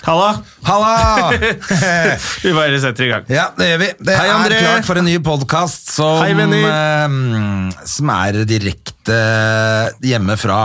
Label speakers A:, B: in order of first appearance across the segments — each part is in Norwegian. A: Halla!
B: Halla!
A: Vi bare setter i gang.
B: Ja, det gjør vi. Det
A: Hei,
B: er
A: André.
B: klart for en ny podkast som,
A: Hei, venner.
B: ehm, som er direkte hjemme fra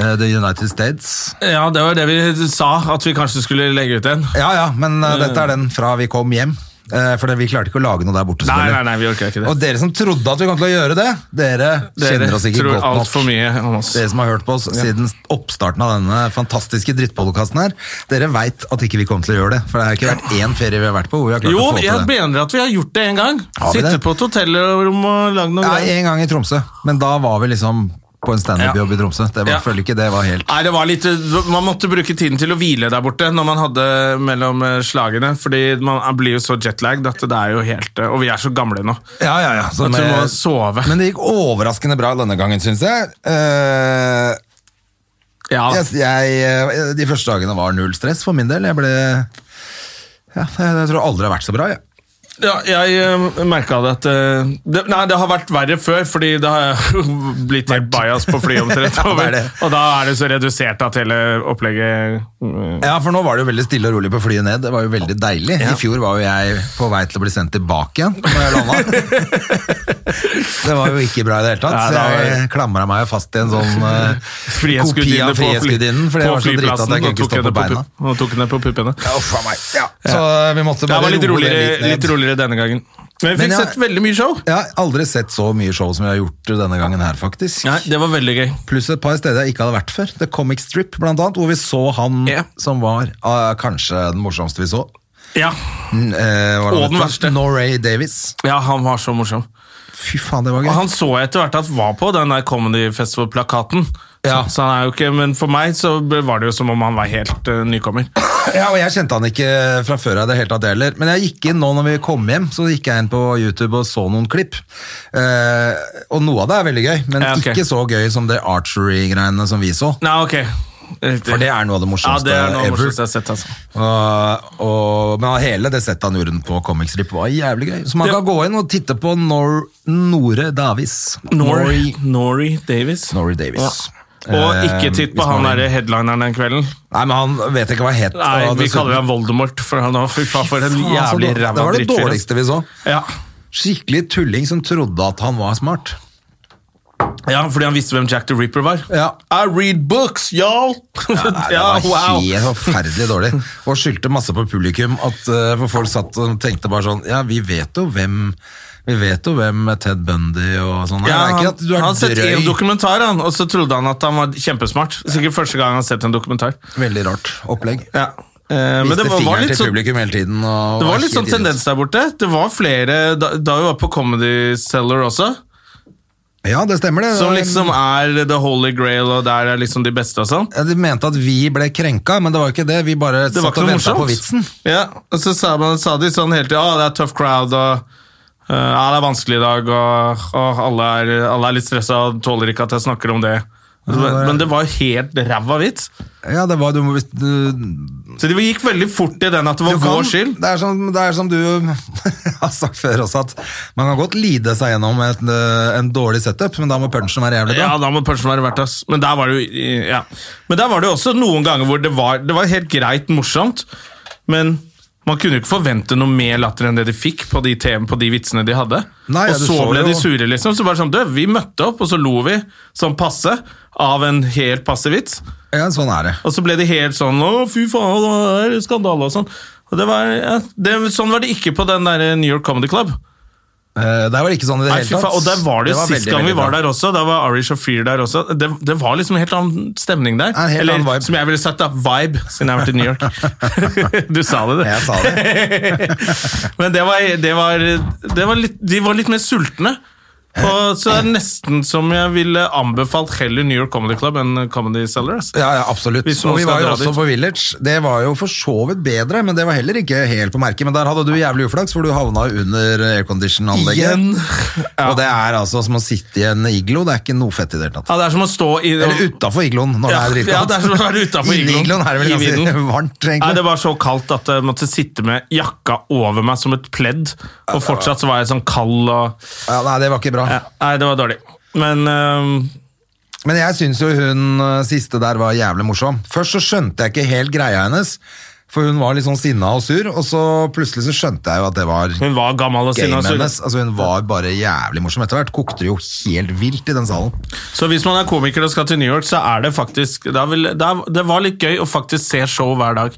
B: eh, The United States.
A: Ja, det var det vi sa at vi kanskje skulle legge ut en.
B: Ja, ja, men
A: Mm.
B: eh, dette er den fra vi kom hjem. Eh, for det- vi klarte ikke å lage noe der borte.
A: Nei,
B: selvfølgelig.
A: nei, nei, vi orker ikke det.
B: Og dere som trodde at vi kom til å gjøre det, dere, kjenner oss ikke godt
A: tror
B: nok.
A: alt for mye om oss.
B: Dere som har hørt på oss siden oppstarten av denne fantastiske drittpodkasten her, dere veit at ikke vi kom til å gjøre det. For det har ikke vært én ferie vi har vært på hvor vi har klart
A: Jo,
B: å få
A: jeg
B: til det.
A: mener at vi har gjort det en gang.
B: Har vi det?
A: Sittet på et hotellrom og lagd noe
B: Ja,
A: greier.
B: en gang i Tromsø, men da var vi liksom på en standup-jobb i Tromsø. Det var,
A: Ja.
B: føler ikke det var helt
A: Nei, det var litt, Man måtte bruke tiden til å hvile der borte når man hadde mellom eh, slagene. Fordi man blir jo så jetlagd at det er jo helt eh, Og vi er så gamle nå.
B: Ja, ja, ja. så
A: At du
B: med-
A: må sove.
B: Men det gikk overraskende bra denne gangen, syns jeg. Eh,
A: Ja,
B: jeg, jeg. De første dagene var null stress for min del. Jeg ble ja, Jeg tror aldri det har vært så bra, jeg.
A: ja jeg merka det at eh, det, Nei, det har vært verre før, fordi det har blitt helt bias på flyet omtrent.
B: Ja, det er
A: over.
B: det.
A: Og da er det så redusert at hele opplegget mm,
B: Ja, for nå var det jo veldig stille og rolig på flyet ned. Det var jo veldig deilig. I fjor var jo jeg på vei til å bli sendt tilbake igjen når jeg landa. det var jo ikke bra i det hele tatt.
A: Nei, det
B: så
A: var-
B: jeg klamra meg jo fast i en sånn eh, kopi
A: Frihetsgudinnen
B: av
A: på, fly,
B: Frihetsgudinnen, fordi jeg
A: på
B: var så drita at
A: flyplassen
B: jeg kunne
A: og
B: ikke
A: tok
B: stå
A: henne
B: på
A: på,
B: beina.
A: pup- og tok henne på puppene.
B: Ja, uff a meg. Ja. Så eh, vi måtte
A: Det
B: bare
A: var litt
B: roe det
A: roligere,
B: ned.
A: litt roligere denne gangen. Men vi
B: Men
A: fikk
B: jeg-
A: sett veldig mye show.
B: Jeg har aldri sett så mye show som jeg har gjort denne gangen her, faktisk.
A: Nei, Det var veldig gøy.
B: Pluss et par steder jeg ikke hadde vært før. The Comic Strip, blant annet, hvor vi så han
A: Ja.
B: som var ah, kanskje den morsomste vi så.
A: Ja,
B: Mm, eh, hva var det
A: Og
B: han
A: den
B: het?
A: verste.
B: Norray Davis.
A: ja han var så morsom.
B: Fy faen, det var gøy.
A: Og han så jeg etter hvert at var på den der Comedy Festival-plakaten.
B: Ja.
A: Så, så han er jo ikke, Men for meg så var det jo som om han var helt eh, nykommer.
B: Ja, og Jeg kjente han ikke fra før av det hele tatt det heller. Men jeg gikk inn nå når vi kom hjem, så gikk jeg inn på YouTube og så noen klipp. Eh, og noe av det er veldig gøy, men
A: Ja, ok.
B: ikke så gøy som det archery-greiene som vi så.
A: Nei, ok. Riktig.
B: For det er noe av det
A: ja,
B: morsomste
A: det er noe av det
B: ever.
A: morsomste jeg har sett. altså.
B: Og, og, men hele det settet han gjorde på Comic Strip var jævlig gøy. Så man
A: Det-
B: kan gå inn og titte på Nor Nore Davis.
A: Nori, Nori Davis.
B: Nori Davis.
A: Og
B: Eh,
A: ikke titt
B: hvis
A: på han
B: man-
A: derre headlineren den kvelden.
B: Nei, men han vet ikke hva han het.
A: Nei,
B: og
A: vi
B: dessuten-
A: kaller han Voldemort, for han var fy faen for en
B: Faen, altså,
A: jævlig
B: det-
A: ræva
B: Det var det
A: drittfyr, ass.
B: dårligste vi så.
A: Ja.
B: Skikkelig tulling som trodde at han var smart.
A: ja, fordi han visste hvem Jack the Ripper var.
B: Ja.
A: I read books, y'all!
B: Nei,
A: Ja,
B: det var helt forferdelig dårlig. Og skyldte masse på publikum. At, eh, for folk satt og tenkte bare sånn Ja, vi vet jo hvem Vi vet jo hvem Ted Bundy og sånn er.
A: Ja,
B: Det er
A: han,
B: ikke at du er
A: han har sett
B: drøy.
A: en dokumentar, han, og så trodde han at han var kjempesmart. Sikkert første gang han har sett en dokumentar.
B: Veldig rart opplegg.
A: Ja. Eh, men
B: Viste
A: det var, var
B: fingeren
A: litt
B: til
A: sånn,
B: publikum hele tiden. Og
A: det var litt
B: helt
A: sånn
B: idiot.
A: tendens der borte. Det var flere da, da vi var på Comedy Cellar også,
B: Ja, det stemmer, det.
A: som liksom er The Holy Grail, og der er liksom de beste og sånn.
B: ja, de mente at vi ble krenka, men det var jo ikke det. Vi bare
A: Det var
B: satt
A: ikke
B: og
A: noe
B: venta
A: morsomt.
B: på vitsen.
A: Ja, og så sa, man, sa de sånn hele tiden Å, det er tough crowd, og eh, ja, det er vanskelig i dag, og, og alle, er, alle er litt stressa og tåler ikke at jeg snakker om det. Men, men det var helt ræva vits.
B: Ja, det var du, må- hvis du,
A: Så det gikk veldig fort i den at
B: du
A: det var
B: kan-
A: vår skyld.
B: Det er som, det er som du har sagt før også, at man kan godt lide seg gjennom et, eh, en dårlig setup, men da må punchen være jævlig
A: Ja,
B: bra.
A: da må punchen være verdt ass. Men der var det jo ja. Men der var det jo også noen ganger hvor det var, det var helt greit morsomt, men man kunne jo ikke forvente noe mer latter enn det de fikk på de, tem- på de vitsene de hadde.
B: Nei, ja,
A: og
B: du
A: så
B: så
A: ble
B: jo-
A: de sure, liksom. Så bare sånn, du, vi møtte opp, og så lo vi sånn passe av en helt passe vits.
B: Ja, sånn er det.
A: Og så ble de helt sånn Å, fy faen, det er skandale og sånn. Og det var, ja, det, sånn var det ikke på den der New York Comedy Club.
B: Eh, Der var det ikke sånn i det
A: Nei,
B: hele
A: fy
B: tatt.
A: faen, og der var det, jo
B: var
A: sist
B: veldig,
A: gang vi
B: veldig
A: var
B: bra.
A: der også. Da var Ari Shafir der også. Det, det var liksom en helt annen stemning der.
B: En helt
A: Eller
B: annen vibe.
A: som jeg ville sagt, da, vibe, siden jeg har vært i New York. du sa det, du.
B: Jeg sa det.
A: Men det var, det var, det var litt, de var litt mer sultne. Og så er det nesten som jeg ville anbefalt heller New York Comedy Club enn Comedy Cellar. altså. ass.
B: Ja, ja, absolutt.
A: Hvis
B: Og
A: noen
B: vi
A: skal
B: var jo
A: dra
B: også
A: dit.
B: på Village. Det var jo for så vidt bedre, men det var heller ikke helt på merket. Men der hadde du jævlig uflaks, for du havna jo under aircondition-anlegget.
A: Igjen. Ja.
B: Og det er altså som å sitte i en iglo. Det er ikke noe fett i det hele tatt.
A: Ja, det er som å stå i
B: Eller utafor igloen, når
A: Ja,
B: det er
A: ja, det er som å være utenfor
B: Inni
A: igloen.
B: igloen er det vel
A: I
B: ganske
A: vinden.
B: varmt,
A: Nei, det
B: egentlig.
A: var så kaldt at jeg måtte sitte med jakka over meg som et pledd. Og fortsatt så var jeg sånn kald og
B: Ja, nei, det var ikke bra.
A: ja, Nei, det var dårlig. Men ehm, øhm,
B: Men jeg syns jo hun eh, siste der var jævlig morsom. Først så skjønte jeg ikke helt greia hennes, for hun var litt sånn sinna og sur, og så plutselig så skjønte jeg jo at det var
A: hun var gammel og sinna.
B: gamet hennes.
A: Så,
B: Altså, hun var bare jævlig morsom. Etter hvert kokte det jo helt vilt i den salen.
A: så hvis man er komiker og skal til New York, så er det faktisk da vil, da, Det var litt gøy å faktisk se show hver dag.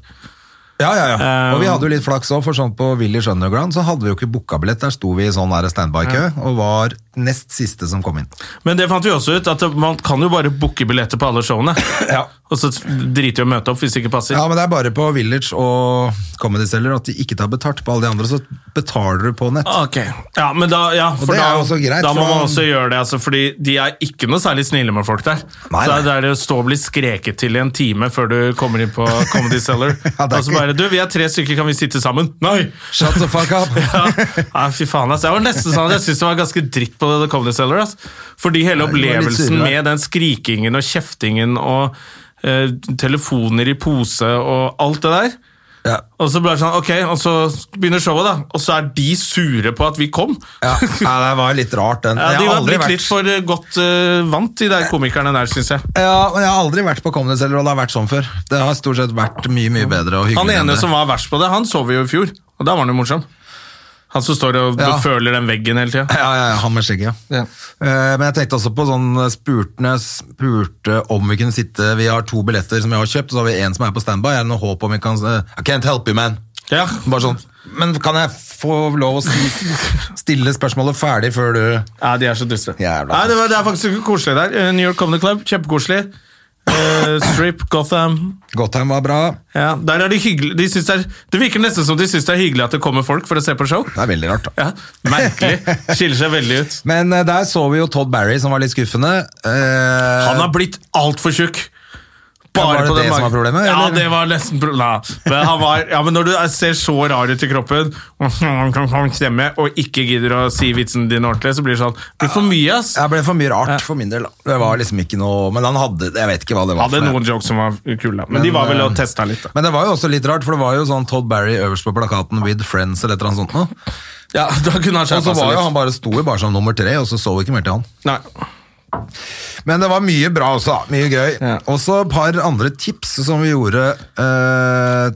B: Ja, ja, ja.
A: Um,
B: og vi hadde jo litt flaks òg, for sånn på Village Underground så hadde vi jo ikke booka billett. Der sto vi i sånn der standby-kø og var nest siste som kom inn.
A: Men det fant vi også ut, at det- man kan jo bare booke billetter på alle showene. Og så driter i å møte opp hvis det ikke passer.
B: Ja, men det er bare på Village og Comedy Cellar at de ikke tar betalt. På alle de andre så betaler du på nett.
A: Ok, ja, men da, ja, for
B: det er
A: da,
B: jo også greit,
A: da må
B: for da-
A: man også gjøre det, altså, fordi de er ikke noe særlig snille med folk der.
B: Nei,
A: Så
B: nei.
A: det er det å stå og bli skreket til i en time før du kommer inn på Comedy Cellar.
B: Ja, det er
A: og så
B: ikke-
A: bare, du, vi er tre stykker, kan vi sitte sammen? Nei!
B: Shut the fuck up!
A: Ja, nei, fy faen, ass. Jeg var nesten sånn, at jeg synes det var ganske dritt på The Comedy Cellar, ass. Fordi hele
B: det var litt
A: opplevelsen
B: surere.
A: med den skrikingen og kjeftingen og eh, telefoner i pose og alt det der,
B: Ja.
A: og så ble det sånn, ok, og så begynner showet da, og så er de sure på at vi kom.
B: Ja, ja, det var litt rart, den.
A: Ja,
B: Jeg
A: de
B: har
A: var
B: aldri
A: blitt
B: vært-
A: litt for eh, godt eh, vant, de der komikerne der, syns jeg.
B: Ja, men jeg har aldri vært på Comedy Cellar, og det har vært sånn før. Det har stort sett vært mye mye bedre og
A: Han
B: hyggeligere. enn
A: ene
B: det.
A: som var verst på det, han så vi jo i fjor, og da var han jo morsom. Han som står og
B: Ja.
A: føler den veggen hele tida.
B: ja, ja, ja, han med skjegget, ja. Eh, Men jeg tenkte også på sånn spurtene spurte om vi kunne sitte Vi har to billetter som jeg har kjøpt, og så har vi en som er på standby. Er det noe håp om vi kan eh, I can't help you, man.
A: Ja.
B: Bare sånn. Men kan jeg få lov å si, stille spørsmålet ferdig før du
A: ja, de er så duste.
B: Jævla
A: Nei, det, var, det er faktisk koselig der. Eh, New York Comedy Club, kjempekoselig. Eh, strip, Gotham
B: Gotham var bra.
A: ja, der er de hyggelig, de syns det, er, det virker nesten som de syns det er hyggelig at det kommer folk for å se på show.
B: Det er veldig rart, da.
A: Ja, Merkelig. Skiller seg veldig ut.
B: Men eh, der så vi jo Todd Barry, som var litt skuffende. Eh,
A: Han har blitt altfor tjukk.
B: Ja, var det
A: på den
B: det som
A: magen.
B: var problemet,
A: Ja,
B: eller?
A: det var nesten pro- nei. Men, han var, ja, men når du er- ser så rar ut i kroppen, stemme, og ikke gidder å si vitsen din ordentlig, så blir det sånn Det blir for mye, ass.
B: Jeg ble for mye rart for min del. da. Det var liksom ikke noe Men han hadde Jeg vet ikke hva det var.
A: Hadde
B: for
A: noen jokes som var kule, men, de var vel og testa litt, da.
B: Men eh, det var jo også litt rart, for det var jo sånn Todd Barry øverst på plakaten with friends eller et eller annet sånt noe.
A: Ja, da kunne han
B: Og så
A: skjerpa seg
B: var jo han
A: litt.
B: bare, sto jo bare som nummer tre, og så så vi ikke mer til han.
A: Nei.
B: Men det var mye bra også, da. mye gøy.
A: Ja.
B: Også et par andre tips som vi gjorde eh,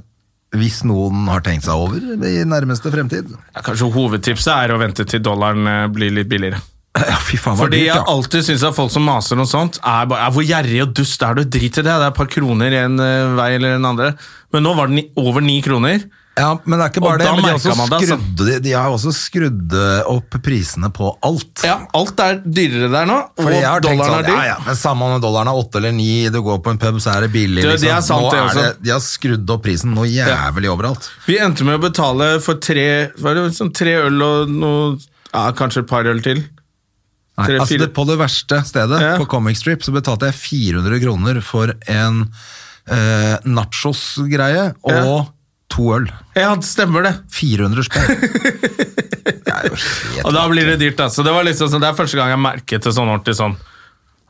B: hvis noen har tenkt seg over i nærmeste fremtid.
A: Ja, kanskje hovedtipset er å vente til dollaren eh, blir litt billigere.
B: Ja, fy faen, var
A: Fordi
B: dyrt,
A: jeg
B: ja.
A: alltid syns at folk som maser om sånt, er bare ja, Hvor gjerrig og dust er du? Drit i det. Det er et par kroner en eh, vei eller en andre. Men nå var det ni, over ni kroner.
B: Ja, men det er ikke bare
A: Og
B: det,
A: da
B: men de, har
A: merket man
B: også
A: det, altså.
B: skrudd, de, de har også skrudd opp prisene på alt.
A: Ja, alt er dyrere der nå, og
B: Fordi jeg har tenkt
A: dollaren
B: sånn,
A: er dyr.
B: ja, ja, men Samme om dollaren er åtte eller ni, du går på en pub, så er det billig.
A: Du, det
B: liksom.
A: er sant,
B: nå
A: det også.
B: de har skrudd opp prisen noe jævlig overalt.
A: Vi endte med å betale for tre, hva er det, sånn tre øl og noe, ja, kanskje et par øl til.
B: Nei,
A: Tre,
B: altså
A: fire.
B: det, på det verste stedet,
A: Ja.
B: på Comic Strip, så betalte jeg 400 kroner for en eh, nachos-greie og
A: Ja.
B: to øl.
A: Ja, det stemmer det.
B: 400 spenn. Det er jo helt
A: Og da blir det dyrt, altså. Det, var liksom, sånn- det er første gang jeg merket det sånn ordentlig sånn.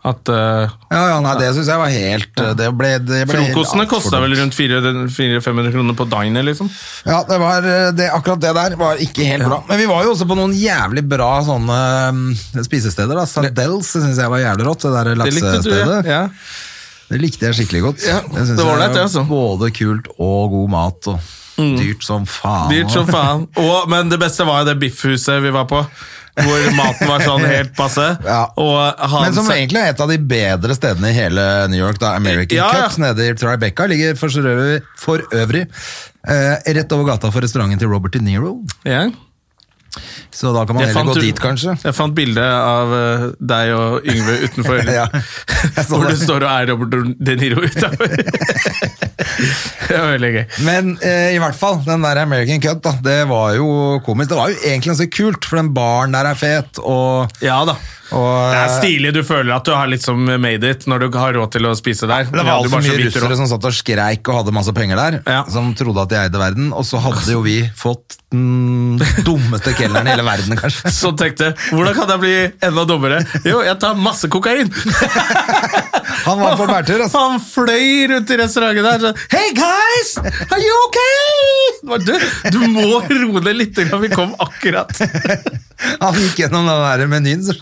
A: At eh,
B: ja, ja, nei, Det syns jeg var helt eh, Det ble, det ble helt
A: frokostene
B: altfor
A: kosta vel
B: dumt.
A: rundt 400-500 kroner på diner, liksom.
B: Ja, det var, eh, det, akkurat det der var ikke helt bra. Men vi var jo også på noen jævlig bra sånne mm, spisesteder. da. Sardels det syns jeg var jævlig rått, det der
A: Det likte du,
B: laksestedet.
A: ja.
B: Det,
A: ja.
B: likte jeg skikkelig godt.
A: Ja,
B: det syns jeg
A: det var ålreit, det, altså. Mm.
B: både kult og god mat. og Dyrt som faen.
A: Dyrt som faen. Og, men det beste var jo det biffhuset vi var på, hvor maten var sånn helt passe.
B: Ja.
A: Og han
B: Men som
A: sa-
B: egentlig er et av de bedre stedene i hele New York. da, American
A: Ja, ja.
B: Cups nede i Tribeca ligger for øvrig, for øvrig eh, rett over gata for restauranten til Robert De Niro.
A: Ja.
B: Så da kan man heller gå
A: jo-
B: dit, kanskje.
A: Jeg fant bilde av eh, deg og Yngve utenfor.
B: Ja, jeg så
A: Hvor du
B: det.
A: står og er Robert De Niro utenfor. Det var veldig gøy.
B: Men eh, i hvert fall, den der American Cut, da, det var jo komisk. Det var jo egentlig ganske kult, for den baren der er fet, og,
A: Ja da.
B: og eh,
A: Det er stilig. Du føler at du har liksom made it når du har råd til å spise der.
B: Det
A: Vi
B: var
A: hadde
B: altfor
A: bare så
B: mye
A: vidt råd.
B: russere som satt og skreik og hadde masse penger der,
A: Ja.
B: som trodde at de eide verden, og så hadde jo vi fått den dummeste kelneren i hele verden, kanskje.
A: Så tenkte jeg, hvordan kan jeg bli enda dummere? Jo, jeg tar masse kokain!
B: Han var på bærtur, altså.
A: Han fløy rundt i restauranten der sånn Hey guys, are you okay? Det var, Du, du må roe deg litt, grann, vi kom akkurat.
B: Han gikk gjennom den der menyen, så,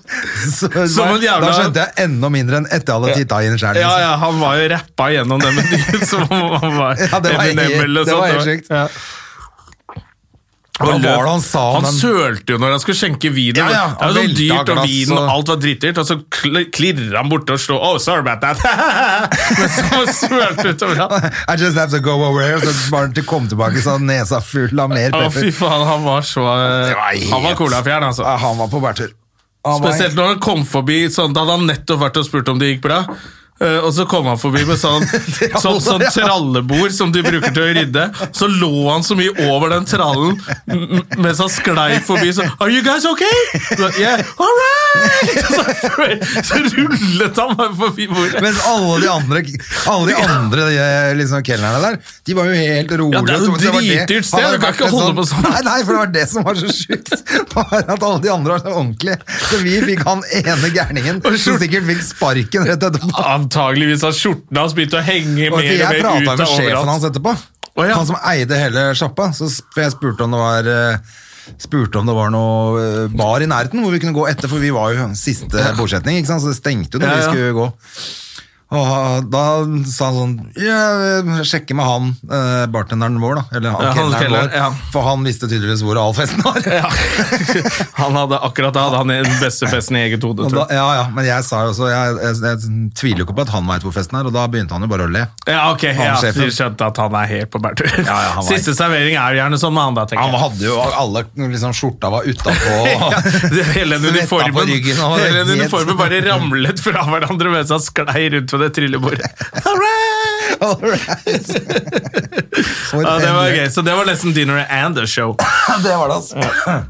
B: så,
A: Som en jævla-
B: da skjønte jeg enda mindre enn etter jeg hadde titta inn sjøl.
A: Ja, ja, han var jo rappa gjennom den menyen som om han var
B: Ja, det var
A: Eminem
B: helt-
A: eller
B: det
A: sånt.
B: var helt sjukt.
A: Ja.
B: Hva var det han sa om
A: han
B: den-
A: sølte jo når han skulle skjenke vin.
B: Ja, ja,
A: det var
B: han
A: sånn
B: velta
A: dyrt, og
B: glass,
A: vin og
B: og-
A: alt var dritdyrt, og så kl- klirra han borte og slo Oh, sorry about that! Men så sølte han utover han.
B: I just have to go away, og så bare til kom tilbake så hadde nesa full av mer
A: Å, fy
B: pepper.
A: faen, han var så eh,
B: Det var helt-
A: Han var colafjern, altså.
B: Ja, han var på bærtur. Han var-
A: Spesielt når han kom forbi sånn, Da hadde han nettopp vært og spurt om det gikk bra. Eh, og så kom han forbi med sånn, sånn, sånn trallebord som de bruker til å rydde. Så lå han så mye over den trallen m- m- mens han sklei forbi sånn Are you guys okay? Så, yeah, all right! Så, så rullet han bare forbi bordet.
B: Mens alle de andre, alle de andre de, liksom, kelnerne der, de var jo helt rolige.
A: Ja, det er jo
B: og trodde var det-
A: dritdyrt sted,
B: Han hadde
A: du kan
B: vært
A: ikke
B: en
A: holde på sånn.
B: Nei, nei, for det var det som var så sjukt. Bare at alle de andre var så ordentlige. Så vi fikk han ene gærningen som sikkert fikk sparken rett etterpå.
A: Antageligvis har skjorten hans begynt å henge
B: Og
A: mer
B: jeg
A: og
B: prata
A: mer
B: med
A: ut av
B: sjefen
A: overalt.
B: hans etterpå.
A: Å, ja.
B: Han som eide hele sjappa. Så sp- jeg spurte om det var eh, Spurte om det var noe eh, bar i nærheten hvor vi kunne gå etter, for vi var jo siste bosetning, ikke sant? så det stengte jo når
A: Ja, ja.
B: vi skulle gå. Og da sa han sånn Ja, sjekke med han eh, bartenderen vår, da. Eller han,
A: Ja, han
B: kelneren
A: kelneren,
B: vår.
A: ja.
B: For han visste tydeligvis hvor all festen var.
A: Han hadde akkurat da hadde han den beste festen i eget hode.
B: Og da,
A: tror jeg.
B: ja, ja, men jeg sa jo også jeg, jeg, jeg tviler jo ikke på at han veit hvor festen er, og da begynte han jo bare å le.
A: Ja, ok, ja,
B: sjefen.
A: Vi skjønte at han er helt på bærtur.
B: ja, han var-
A: Siste servering er jo gjerne sånn med han, da, tenker
B: Han
A: jeg.
B: hadde jo alle liksom, Skjorta var utapå.
A: Ja, det- hele
B: Svetta
A: den
B: på
A: uniformen,
B: ryggen, og det
A: hele den
B: het-
A: uniformen bare ramlet fra hverandre mens han sklei rundt på det trillebordet. Hurra!
B: All right. For
A: Ja, det
B: en
A: var
B: løk.
A: gøy. Så det var nesten dinner and a show.
B: Det var det, altså.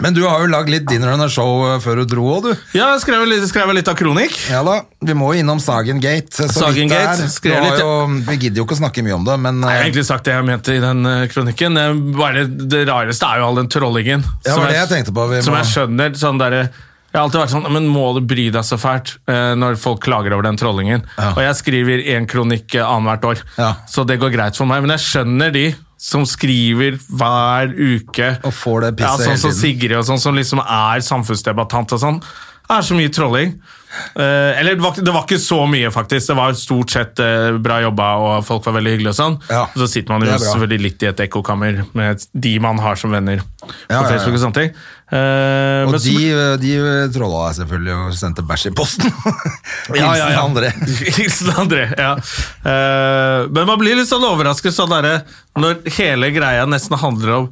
B: Men du har jo lagd litt dinner and a show eh, før du dro òg, du.
A: Ja, jeg skrev, litt- skrev litt av kronikk.
B: Ja da, Vi må jo innom Sagen Gate. så vidt
A: Sagen
B: det
A: Gate,
B: er.
A: skrev
B: Du har
A: litt-
B: Jo, vi gidder jo ikke å snakke mye om det, men
A: Jeg har
B: eh,
A: egentlig sagt det jeg mente i den eh, kronikken. Eh, Bare det rareste er jo all den trollingen.
B: Ja, det
A: som
B: var det jeg tenkte på. Vi
A: Som
B: må-
A: jeg skjønner, sånn der, jeg har alltid vært sånn, men må du bry deg så fælt eh, når folk klager over den trollingen?
B: Ja.
A: Og jeg skriver én kronikk eh, annethvert år,
B: Ja.
A: så det går greit for meg. Men jeg skjønner de som skriver hver uke.
B: Og får det pisset
A: ja,
B: hele
A: Sånn som
B: tiden.
A: Sigrid og sånn, som liksom er samfunnsdebattant og sånn. Det er så mye trolling. Eh, eller det var, det var ikke så mye, faktisk. Det var stort sett eh, bra jobba, og folk var veldig hyggelige og sånn.
B: Ja.
A: Så sitter man jo
B: Det er bra.
A: selvfølgelig litt i et ekkokammer med de man har som venner
B: Ja,
A: på
B: ja, ja.
A: Facebook og sånne ting. Eh,
B: og
A: men
B: de,
A: som-
B: eh, de trolla deg selvfølgelig og sendte bæsj i posten.
A: Ja, ja,
B: Hilsen
A: ja.
B: André.
A: Hilsen André, ja. Eh, men man blir litt sånn overrasket sånn derre, når hele greia nesten handler om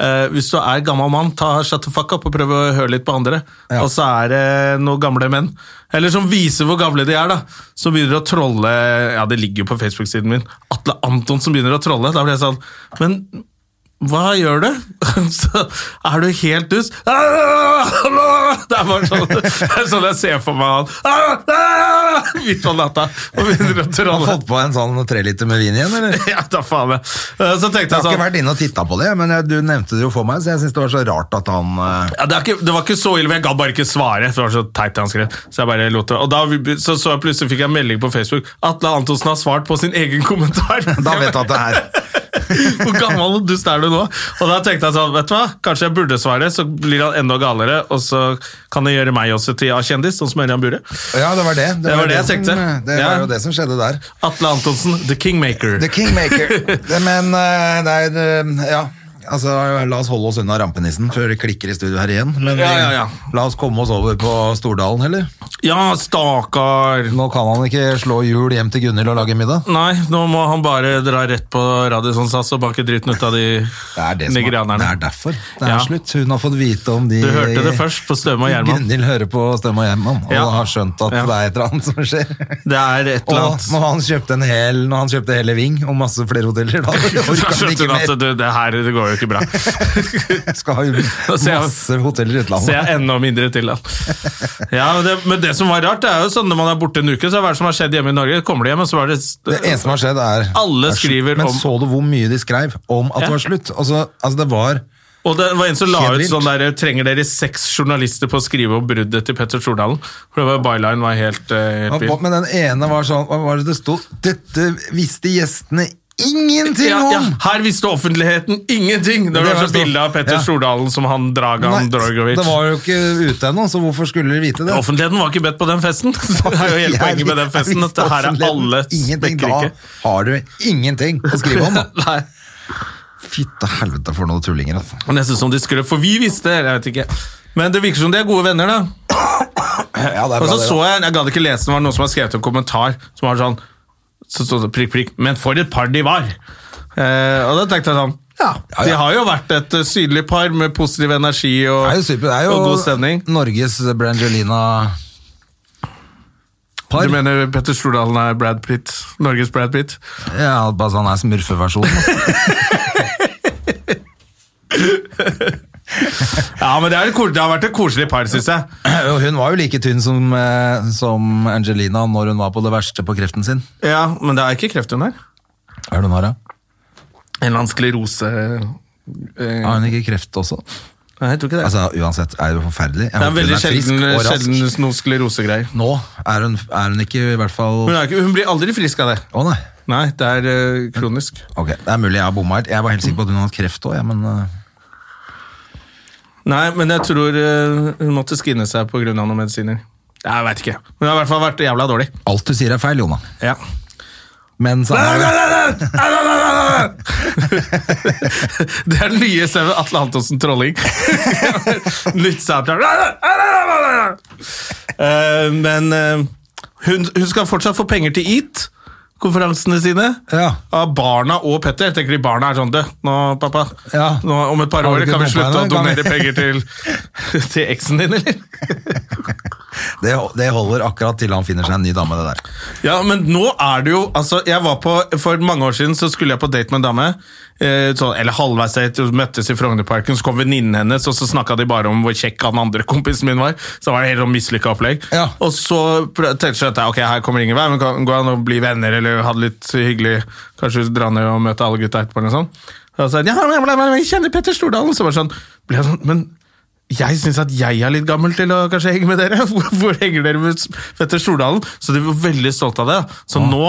A: eh, Hvis du er gammel mann, ta shut the fuck up og prøv å høre litt på andre.
B: Ja.
A: Og så er det noen gamle menn, eller som viser hvor gamle de er, da, som begynner å trolle Ja, det ligger jo på Facebook-siden min. Atle Antonsen begynner å trolle. Da blir jeg sånn Men hva gjør du? Så er du helt dus? Det er bare sånn, det er sånn jeg ser for meg han midt på natta og begynner å
B: Har
A: trolle.
B: fått på en sånn treliter med vin igjen, eller?
A: Ja, da faen jeg. Så tenkte
B: Jeg
A: jeg
B: har ikke
A: sånn
B: vært inne og titta på det, men jeg, du nevnte det jo for meg, så jeg syns det var så rart at han eh,
A: ja, det, er ikke, det var ikke så ille, men jeg gadd bare ikke svare. for det var Så teit han skrev Så jeg bare lot det Og da vi- så, så jeg plutselig fikk jeg en melding på Facebook. Atle Antonsen har svart på sin egen kommentar.
B: Da vet du at det er
A: Hvor gammel og dust er du nå? Og da tenkte jeg sånn, vet du hva, kanskje jeg burde svare, så blir han enda galere, og så kan det gjøre meg også til A-kjendis, sånn som Ørjan Bure.
B: Ja, det var det. Det,
A: var det jeg
B: som-
A: tenkte.
B: Det var
A: Ja.
B: jo det som skjedde der.
A: Atle Antonsen, The Kingmaker.
B: The Kingmaker. Det- Men eh, det er eh, Ja. Altså, La oss holde oss unna rampenissen før det klikker i studio her igjen. Men
A: Ja, ja, ja.
B: la oss komme oss over på Stordalen heller.
A: Ja, stakkar!
B: Nå kan han ikke slå hjul hjem til Gunhild og lage middag.
A: Nei, nå må han bare dra rett på Radisson SAS og bake driten ut av de
B: Det er, det som er, det
A: nigerianerne.
B: er derfor. Det er
A: Ja.
B: slutt. Hun har fått vite om de
A: Du hørte det først på Støme og Gjerman.
B: Gunhild hører på Stemme og Gjerman og
A: Ja.
B: har skjønt at
A: Ja.
B: det er et eller annet som skjer.
A: Det er et
B: Og
A: eller annet
B: når han kjøpte en hel Når han kjøpte hele Ving og masse flere hoteller, da orker
A: Da
B: han
A: skjønte
B: ikke
A: hun at
B: mer.
A: du, det her det går jo ikke bra.
B: Skal ha
A: Da altså- ser jeg-
B: masse hoteller i
A: Ser
B: utlandet.
A: jeg enda mindre til han. Ja, men det, men det som var rart, det er jo sånn når man er borte en uke, så er hva som har skjedd hjemme i Norge? Kommer de hjem, og så var det
B: Det eneste som har skjedd, er
A: Alle
B: er slutt.
A: skriver
B: Men
A: om-
B: så du hvor mye de skrev om at
A: Ja.
B: det var slutt? Altså, altså det var
A: Og det var en som la
B: Helt
A: ut
B: vilt.
A: sånn der Trenger dere seks journalister på å skrive om bruddet til Petter Stordalen? For det var byline var helt, eh, helt vild.
B: Men den ene var sånn Hva var det det stod? Dette visste gjestene ingenting
A: Ja,
B: om!
A: ja, her visste offentligheten ingenting! Det
B: Det
A: var
B: var
A: så bilde av Petter
B: ja.
A: Stordalen som han Dragan
B: Nei,
A: Drogovic.
B: det var jo ikke ute ennå, så hvorfor skulle de vite det?
A: Offentligheten var ikke bedt på den festen! Det er jo hele poenget med den festen. At det her er alle
B: Ingenting, da
A: spekkerike.
B: har du ingenting å skrive om. da.
A: Nei.
B: Fytte helvete for noen tullinger, altså.
A: Men jeg synes om de skrøp, for vi visste, eller jeg vet ikke. Men det virker som de er gode venner, da.
B: Ja, det er
A: Og
B: bra,
A: så
B: det,
A: så
B: da.
A: jeg, jeg gadd ikke lese, det var noen som har skrevet en kommentar som var sånn så stod det prikk, prikk, men for et par de var. Eh, og da tenkte jeg sånn, ja,
B: Ja, ja.
A: de har jo vært et eh, synlig par med positiv energi og,
B: Det er jo super. Det er
A: og god stemning.
B: jo Norges Brangelina Par.
A: Du mener Petter Stordalen er Brad Pitt, Norges Brad Pitt?
B: Ja, bare sånn er smurfeversjonen.
A: Ja, men det, er et kos- det har vært et koselig par, synes jeg.
B: Og Hun var jo like tynn som, eh, som Angelina når hun var på det verste på kreften sin.
A: Ja, men det er ikke kreft hun her.
B: Hva er det hun har, da?
A: En eller annen sklerose... eh,
B: Har hun ikke kreft også?
A: Nei, jeg tror ikke det.
B: Altså, uansett er det jo forferdelig. Jeg
A: det er
B: håper
A: veldig
B: hun frisk
A: sjelden,
B: og rask.
A: sjelden noen sklerosegreier.
B: Nå er hun, er hun ikke i hvert fall
A: Hun,
B: Å
A: er ikke, hun blir aldri frisk av det.
B: nei.
A: Nei, det er eh, kronisk.
B: Ok, Det er mulig jeg har bomma helt. Jeg var helt sikker på at hun hadde kreft òg. Ja, men eh,
A: Nei, men jeg tror eh, hun måtte skinne seg pga. noen medisiner. Jeg veit ikke. Hun har i hvert fall vært jævla dårlig.
B: alt du sier er feil, Jona.
A: Ja.
B: Men så er det
A: Det er den nye stemmen Atle Antonsen Trolling. Nytt soundtrack. Eh, men eh, hun, hun skal fortsatt få penger til EAT. Konferansene sine eh,
B: Ja.
A: av barna og Petter. Jeg tenker de barna er sånn Det, nå, pappa.
B: Ja.
A: Nå, om et par
B: Har
A: år
B: du ikke
A: kan vi
B: dumpa
A: slutte å
B: henne? Kan vi-
A: donere penger til, til eksen din, eller?
B: Det, det holder akkurat til han finner seg en ny dame, det der.
A: Ja, men nå er det jo altså, jeg var på, For mange år siden så skulle jeg på date med en dame. Eh, så, eller halvveis date, og møttes i Frognerparken, så kom venninnen hennes, og så snakka de bare om hvor kjekk han andre kompisen min var. Så var det helt sånn mislykka opplegg.
B: Ja.
A: Og så prø- tenkte jeg at ja, ok, her kommer det ingen vei, men kan gå an å bli venner eller ha det litt hyggelig. Kanskje dra ned og møte alle gutta etterpå eller noe sånt. Og så sa jeg, ja, men, men, men, jeg kjenner Petter Stordalen. Så bare sånn, ble jeg sånn, men jeg syns at jeg er litt gammel til å kanskje henge med dere. Hvor, hvor henger dere med Petter Stordalen? Så de var veldig stolte av det. Så nå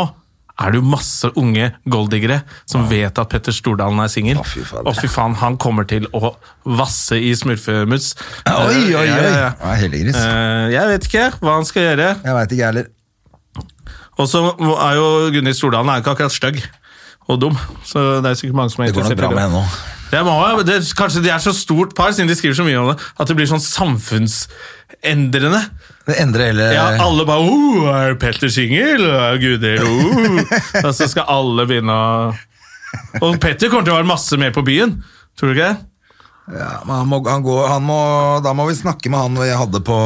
A: er det jo masse unge golddiggere som vet at Petter Stordalen er singel.
B: Å, fy faen.
A: Og fy faen, han kommer til å vasse i smurfemuts.
B: Oi, oi, oi!
A: Ja, ja, ja.
B: Ja, Heldiggris.
A: Eh, Jeg vet ikke hva han skal gjøre.
B: Jeg veit ikke, jeg heller.
A: Og så er jo Gunnhild Stordalen er jo ikke akkurat stygg og dum. Så det er sikkert mange som er
B: Det går nok
A: interessert
B: bra
A: i
B: med
A: det.
B: henne nå.
A: Det må, jo- det, kanskje de er så stort par, siden de skriver så mye om det, at det blir sånn samfunnsendrende.
B: Det endrer hele
A: Ja, alle bare oh, 'Er Petter singel?' «Å, Gudel, oh. Og så skal alle begynne å Og Petter kommer til å være masse mer på byen. Tror du ikke det?
B: Ja, men han må, han går, han må, da må vi snakke med han jeg hadde på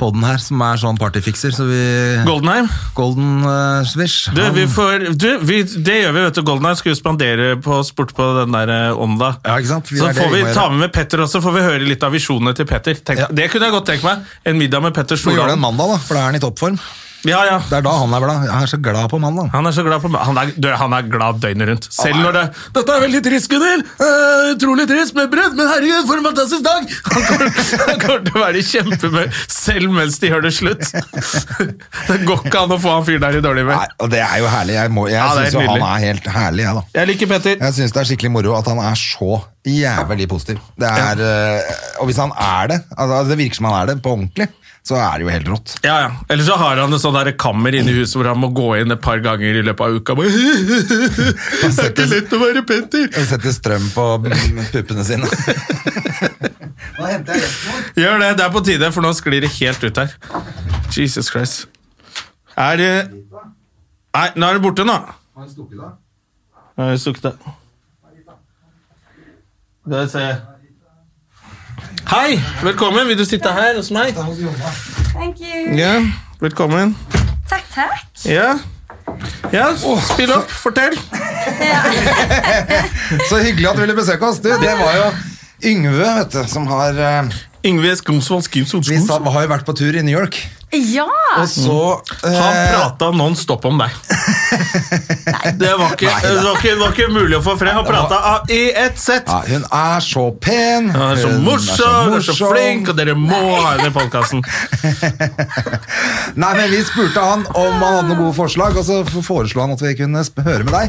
B: podden her, som er sånn partyfikser, så vi
A: Goldenheim?
B: Golden eh, Swish.
A: Du,
B: Han-
A: vi får, du, vi, det gjør vi, vet du. Goldenheim skal jo spandere på oss bort på den der eh, ånda.
B: Ja, ikke sant? Vi
A: så
B: er det
A: får vi
B: må gjøre.
A: ta med med Petter også, får vi høre litt av visjonene til Petter. Tenk,
B: Ja.
A: Det kunne jeg godt tenke meg. En middag med Petter
B: Får gjøre det en
A: Stordalen.
B: mandag, da, for da er han i toppform.
A: Ja, ja.
B: Det er da han er glad. Jeg er så glad på mandag.
A: Han er så glad på meg. Han er, du, han er glad døgnet rundt. Selv når det Dette er veldig trist, Gunnhild! Eh, utrolig trist med brød, men herregud, for en fantastisk dag! Han kommer, han kommer til å være i kjempehumør selv mens de gjør det slutt. Det går ikke an å få han fyren der i dårlig
B: Nei,
A: humør.
B: og det er jo herlig. Jeg, må- jeg
A: Ja, det er
B: synes jo
A: nydelig.
B: han er helt herlig, jeg, da.
A: Jeg liker Petter.
B: Jeg syns det er skikkelig moro at han er så jævlig positiv. Det er, eh, og hvis han er det, altså det virker som han er det på ordentlig, så er det jo helt rått.
A: Ja, ja. Eller så har han et sånt der kammer inne i huset hvor han må gå inn et par ganger i løpet av uka. Bare, det er ikke lett å være Petter!
B: Han setter strøm på puppene sine. Nå henter jeg resten
A: Gjør det, det er på tide, for nå sklir det helt ut her. Jesus Christ. Er det Nei, nå er det borte, nå.
B: vår.
A: Nå er det stukket av. Der ser jeg. Hei! Velkommen. Vil du sitte her hos meg?
C: Thank you.
A: Ja, velkommen.
C: Takk, takk.
A: Ja. Ja, spill opp. Fortell.
B: Så hyggelig at du ville besøke oss. Du, det var jo Yngve, vet du, som har eh,
A: Yngve Skomsvold Skimsvold
B: Vi sa- har jo vært på tur i New York,
D: Ja!
B: og så
A: Han
B: eh,
A: prata non stop om deg. Det var ikke,
B: Nei, da.
A: det var ikke, det var ikke mulig å få fred. Han prata i ett sett.
B: ja, Eh, Hun er så pen,
A: Han er så morsom, du er så flink, og dere må ha henne i podkasten.
B: Nei, men Vi spurte han om han hadde noen gode forslag, og så foreslo han at vi kunne sp- høre med deg.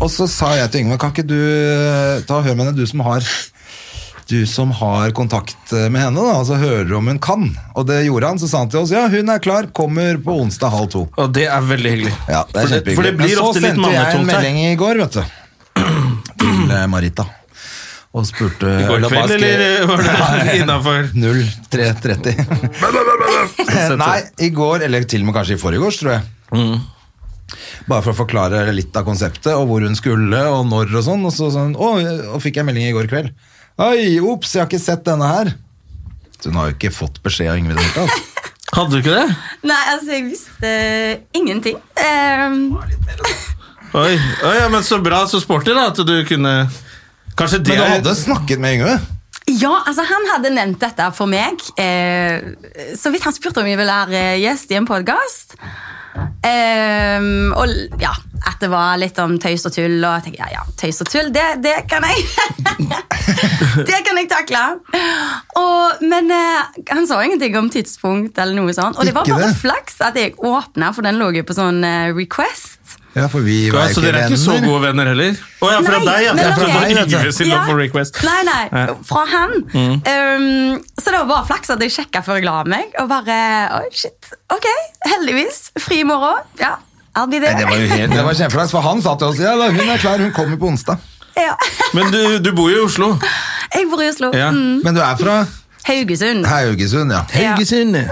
B: Og så sa jeg til Yngve, kan ikke du eh, ta og høre med henne, du som har du som har kontakt eh, med henne, da, og så hører om hun kan. Og det gjorde han, så sa han til oss ja, hun er klar, kommer på onsdag halv to.
A: Og det er veldig hyggelig.
B: Ja, det er
A: for, det, for det
B: kjempehyggelig.
A: blir ofte litt
B: Men så sendte jeg en
A: mannetungt her.
B: melding i går, vet du. Til eh, Marita. Og spurte
A: I går
B: eller bare
A: kveld,
B: skrev-
A: eller var det innafor?
B: 03.30. Nei, i går, eller til og med kanskje i forgårs, tror jeg. Mm. Bare for å forklare litt av konseptet, og hvor hun skulle, og når og sånn. Og så sånn, å, og fikk jeg melding i går kveld. Oi, ops, jeg har ikke sett denne her. Så hun har jo ikke fått beskjed av Ingvild i det hele tatt.
A: Hadde du ikke det?
E: Nei, altså, jeg visste ingenting. Ehm,
A: Oi, Oi ja, men Så bra, så sporty da, at du kunne Kanskje
B: Men
A: det
B: du
A: er-
B: hadde snakket med Yngve?
E: ja, altså, han hadde nevnt dette for meg. eh, så vidt han spurte om jeg ville være eh, gjest i en podkast. og l- ja, at det var litt om tøys og tull. Og jeg tenkte, ja, ja, tøys og tull, det, det kan jeg. det kan jeg takle. Og, men eh, han sa ingenting om tidspunkt eller noe sånt. Og det var
B: Ikke
E: bare
B: det.
E: flaks at jeg åpna, for den lå jo på sånn eh, request.
B: Ja, for vi
A: ja,
B: var
A: Så
B: jo
A: dere
B: ikke
A: er ikke så
B: venner.
A: gode venner heller? Å ja, fra
E: Nei,
A: deg, ja.
E: men
A: ja. Fra
E: fra meg,
B: vet du.
A: Yngve sin
E: Ja.
A: love for request.
E: Nei, nei,
A: Ja. Mm.
E: fra han. Um, så det var bare flaks at jeg sjekka før jeg la meg. Og bare, oi, shit, ok, heldigvis. Fri i morgen. Ja, I'll be there.
B: Det var jo helt, det var kjempeflaks, for han sa til oss ja, da, hun er klar, hun kommer på onsdag.
E: ja.
A: Men du, du bor jo i Oslo.
E: Jeg bor i Oslo.
A: Ja.
E: Mm.
B: Men du er fra
E: Haugesund.
B: Haugesund, ja.
E: Ja.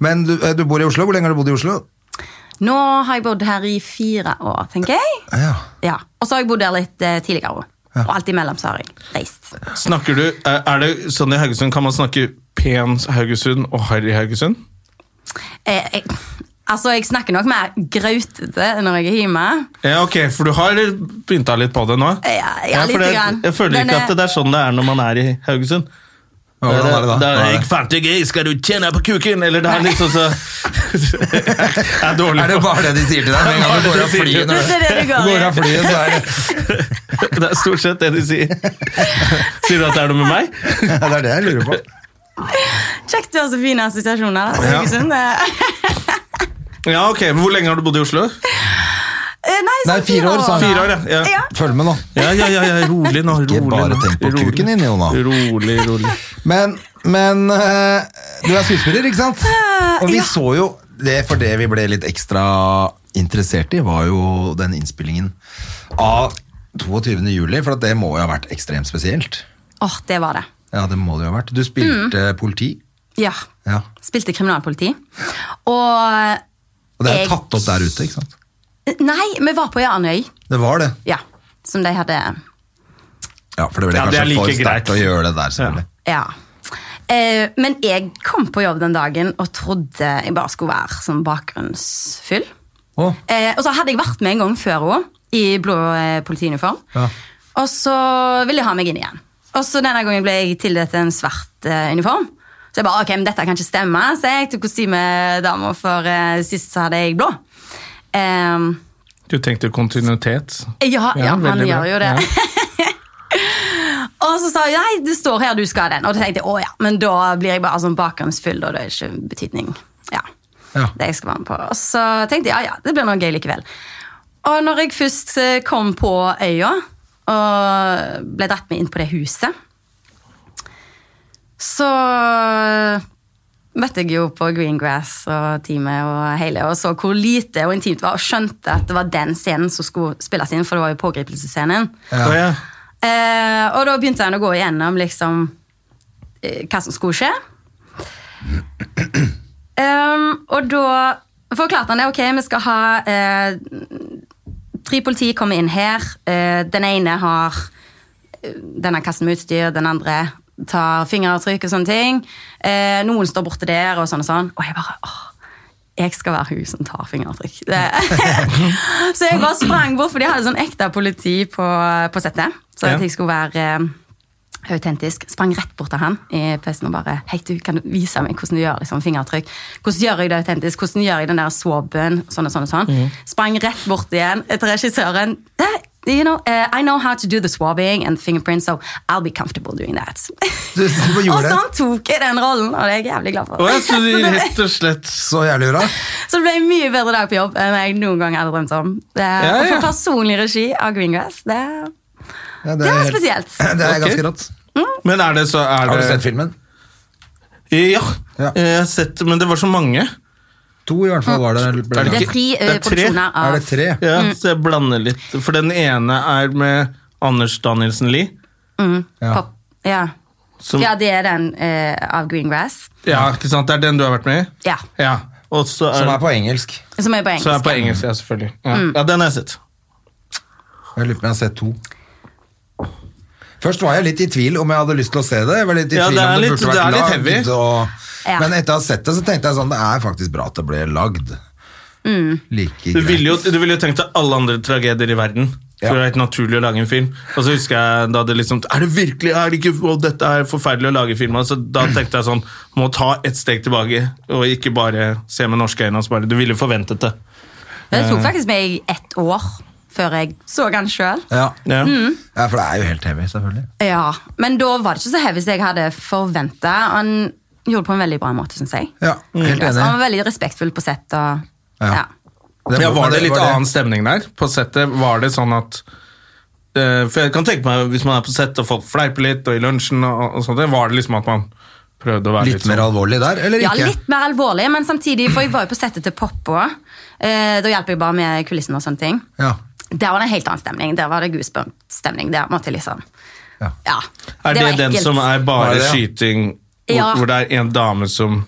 B: Men du, eh, du bor i Oslo? Hvor lenge har du bodd i Oslo?
E: Nå har jeg bodd her i fire år, tenker jeg.
B: Ja.
E: Ja. Og så har jeg bodd her litt eh, tidligere òg. Og alt imellom så har jeg reist.
A: Snakker du, er er det sånn i Haugesund, Kan man snakke pen Haugesund og harry Haugesund?
E: Eh, jeg, altså, jeg snakker nok mer grautete når jeg er hjemme.
A: Ja, ok, For du har pynta litt på det nå?
E: Ja, ja,
A: for
E: lite
A: det-
E: grann. eh,
A: Jeg føler
E: Den
A: ikke
E: er-
A: at det er sånn det er når man er i Haugesund.
B: Ja, Hvordan er det da? Hva
A: Det er,
B: er
A: jeg
B: det?
A: fant deg gøy, skal du tjene på kuken? Eller det er litt sånn så Jeg er dårlig
B: Er det bare det de sier til deg? Med en gang du går av flyet, når
E: Det er det det
B: du
E: går
B: går
E: i.
B: av flyet så er det
A: på Det er stort sett det de sier. Sier du at det er noe med meg?
B: ja, Det er det jeg lurer på.
E: Kjekt du har så fine assosiasjoner. da,
A: Ja.
E: Haugesund. Eh,
A: Ja, ok, men Hvor lenge har du bodd i Oslo?
E: Eh, Nei,
B: Nei,
E: sånn
B: fire år, sa han.
A: Fire år, ja. ja.
E: Ja.
B: Følg med nå.
A: Ja, ja, ja, ja, rolig nå. rolig
B: Ikke bare
A: nå.
B: tenk på
A: Rolig.
B: kuken din, Jona.
A: Rolig, rolig.
B: Men, men eh, du er skuespiller, ikke sant? Og vi så jo det for det vi ble litt ekstra interessert i, var jo den innspillingen av 22. juli, for at det må jo ha vært ekstremt spesielt.
E: Åh, det var det.
B: Ja, det må det jo ha vært. Du spilte politi.
E: Ja.
B: Ja.
E: Spilte kriminalpoliti. Og
B: Og det er
E: Jeg-
B: jo tatt opp der ute, ikke sant?
E: Nei, vi var på Jarnøy.
B: Det var det.
E: Ja. Som de hadde
B: Ja, for det ble
A: Ja, det
B: kanskje
A: er like
B: for
A: greit.
B: sterkt å gjøre det der, selvfølgelig.
E: Ja. Eh, men jeg kom på jobb den dagen og trodde jeg bare skulle være sånn bakgrunnsfyll.
B: Å.
E: Eh, og så hadde jeg vært med en gang før også, i blå eh, politiuniform.
B: Ja.
E: Og så ville de ha meg inn igjen. Og så denne gangen ble jeg tildelt en svart eh, uniform. Så jeg bare, ok, men dette kan ikke stemme, så jeg tok kostymedama, for eh, sist så hadde jeg blå. Um,
A: Du tenkte kontinuitet?
E: ja,
A: Ja,
E: ja, han
A: veldig bra.
E: gjør jo det. og så sa jeg nei, det står her, du skal ha den. Og da tenkte jeg å ja, men da blir jeg bare sånn bakgrunnsfull, og det er ikke betydning. Ja,
B: Ja.
E: det jeg skal være med på. Og så tenkte jeg ja, ja, det blir noe gøy likevel. Og når jeg først eh, kom på øya, Og ble dratt med inn på det huset. Så eh, møtte jeg jo på Greengrass og teamet og hele, og så hvor lite og intimt det var, og skjønte at det var den scenen som skulle spilles inn, for det var jo pågripelsesscenen.
A: Å, ja.
E: Eh, og da begynte han å gå igjennom liksom, eh, hva som skulle skje. Ehm, og da forklarte han det. Ok, vi skal ha eh, Tre politi kommer inn her. Eh, den ene har eh, denne kassen med utstyr, den andre tar fingeravtrykk og sånne ting. Eh, noen står borte der, og sånn og sånn. Og jeg bare åh, jeg skal være hun som tar fingeravtrykk. Det. så jeg bare sprang bort, for de hadde sånn ekte politi på, på settet. Så
A: Ja.
E: at jeg skulle være eh, autentisk. Sprang rett bort til han i PC-en og bare Hei, du, kan du vise meg hvordan du gjør liksom, fingeravtrykk? Hvordan gjør jeg det autentisk? Hvordan gjør jeg den der swabben? Sånn og sånn og sånn.
B: Mhm.
E: Sprang rett bort igjen etter regissøren. «Eh, You know, eh, I know how to do the swabbing and fingerprint, so I'll be comfortable doing that.
B: Du- du bare gjorde
E: og
B: det.
E: sånn tok jeg den rollen, og det er jeg jævlig glad for.
A: Å, ja, så de rett og slett
B: Så jævlig bra.
E: Så det ble en mye bedre dag på jobb enn jeg noen gang hadde drømt om. Det,
A: Ja,
E: Å
A: ja.
E: få personlig regi av Greengrass, det,
B: Ja,
E: det var
B: helt-
E: spesielt.
B: Det er
A: Ok.
B: ganske rått.
A: Men er det så er
B: Har du
A: det-
B: sett filmen?
A: Ja.
B: Ja.
A: Jeg har sett, men det var så mange.
B: To i hvert fall var det.
A: Mm. Er
E: Det
A: det
E: er
A: ikke-
E: tre
A: det
E: eh,
A: er tre?
E: produksjoner
B: Er
E: av
B: det tre?
A: Ja, Så jeg blander litt. For den ene er med Anders Danielsen Lie.
B: Ja.
E: Mm, pop. Ja.
A: Som,
E: ja,
A: ja.
E: det er den eh, av Greengrass.
A: ikke sant? Det er den du har vært med i?
E: Ja,
A: Ja. Og så er,
B: Som er på engelsk.
E: Som er på engelsk.
A: så er på engelsk, ja, Mm. selvfølgelig. Ja. ja, den har jeg sett.
B: Jeg lurer på om jeg har sett to. Først var jeg litt i tvil om jeg hadde lyst til å se det. Jeg var litt i
A: Ja,
B: tvil
A: det er
B: om det
A: litt-
B: burde
A: det er
B: vært
A: litt
B: lagd.
A: heavy.
B: Og,
E: Ja.
B: Men etter å ha sett det, så tenkte jeg sånn, det er faktisk bra at det ble lagd.
E: Mm.
B: Like
A: Du ville
B: greit.
A: jo, du ville jo tenkt deg alle andre tragedier i verden. Så
B: Ja.
A: Det var helt naturlig å lage en film. Og så husker jeg da det liksom Er det virkelig er det ikke, og dette er forferdelig å lage film av? Så da tenkte jeg sånn Må ta et steg tilbake, og ikke bare se med norske øyne. og så bare, Du ville forventet det.
E: Men det tok faktisk meg ett år før jeg så den sjøl.
B: Ja.
A: Ja.
E: Mm.
B: ja, for det er jo helt heavy, selvfølgelig.
E: Ja, men da var det ikke så heavy som jeg hadde forventa. Han gjorde det på en veldig bra måte, syns jeg.
B: Ja, helt enig.
E: Altså, han var veldig respektfull på sett. Og,
B: Ja.
E: ja.
B: Det
A: Ja, Var det litt
B: var
A: annen stemning der på settet? Var det sånn at eh, For jeg kan tenke meg, hvis man er på sett og folk fleiper litt, og i lunsjen og, og sånt, var det liksom at man prøvde å være litt,
B: Litt mer
A: sånn
B: alvorlig der, eller
E: Ja,
B: ikke?
E: litt mer alvorlig, men samtidig, for jeg var jo på settet til Poppe òg. Eh, da hjelper jeg bare med kulissene og sånne ting.
B: Ja.
E: Der var det en helt annen stemning. Der var det goosebump-stemning. Der måtte jeg liksom
B: Ja.
E: Ja.
A: Er det,
E: var
A: den
E: ekkelt.
A: som er bare
B: Var det det, ja?
A: skyting, hvor,
E: Ja.
A: hvor det er en dame som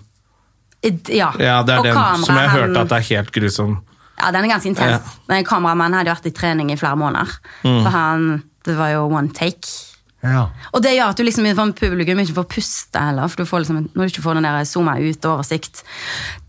E: Ja,
A: Ja, det er
E: og
A: den som jeg
E: kameraet,
A: hørte
E: han-
A: at det er helt grusom.
E: Ja, den er ganske
A: Ja.
E: intens.
A: Mm.
E: Men kameramannen hadde jo vært i trening i flere måneder. For han, det var jo one take.
B: Ja.
E: Og det gjør at du liksom for publikum ikke får puste heller. For du får liksom, når du ikke får den der zooma ut oversikt,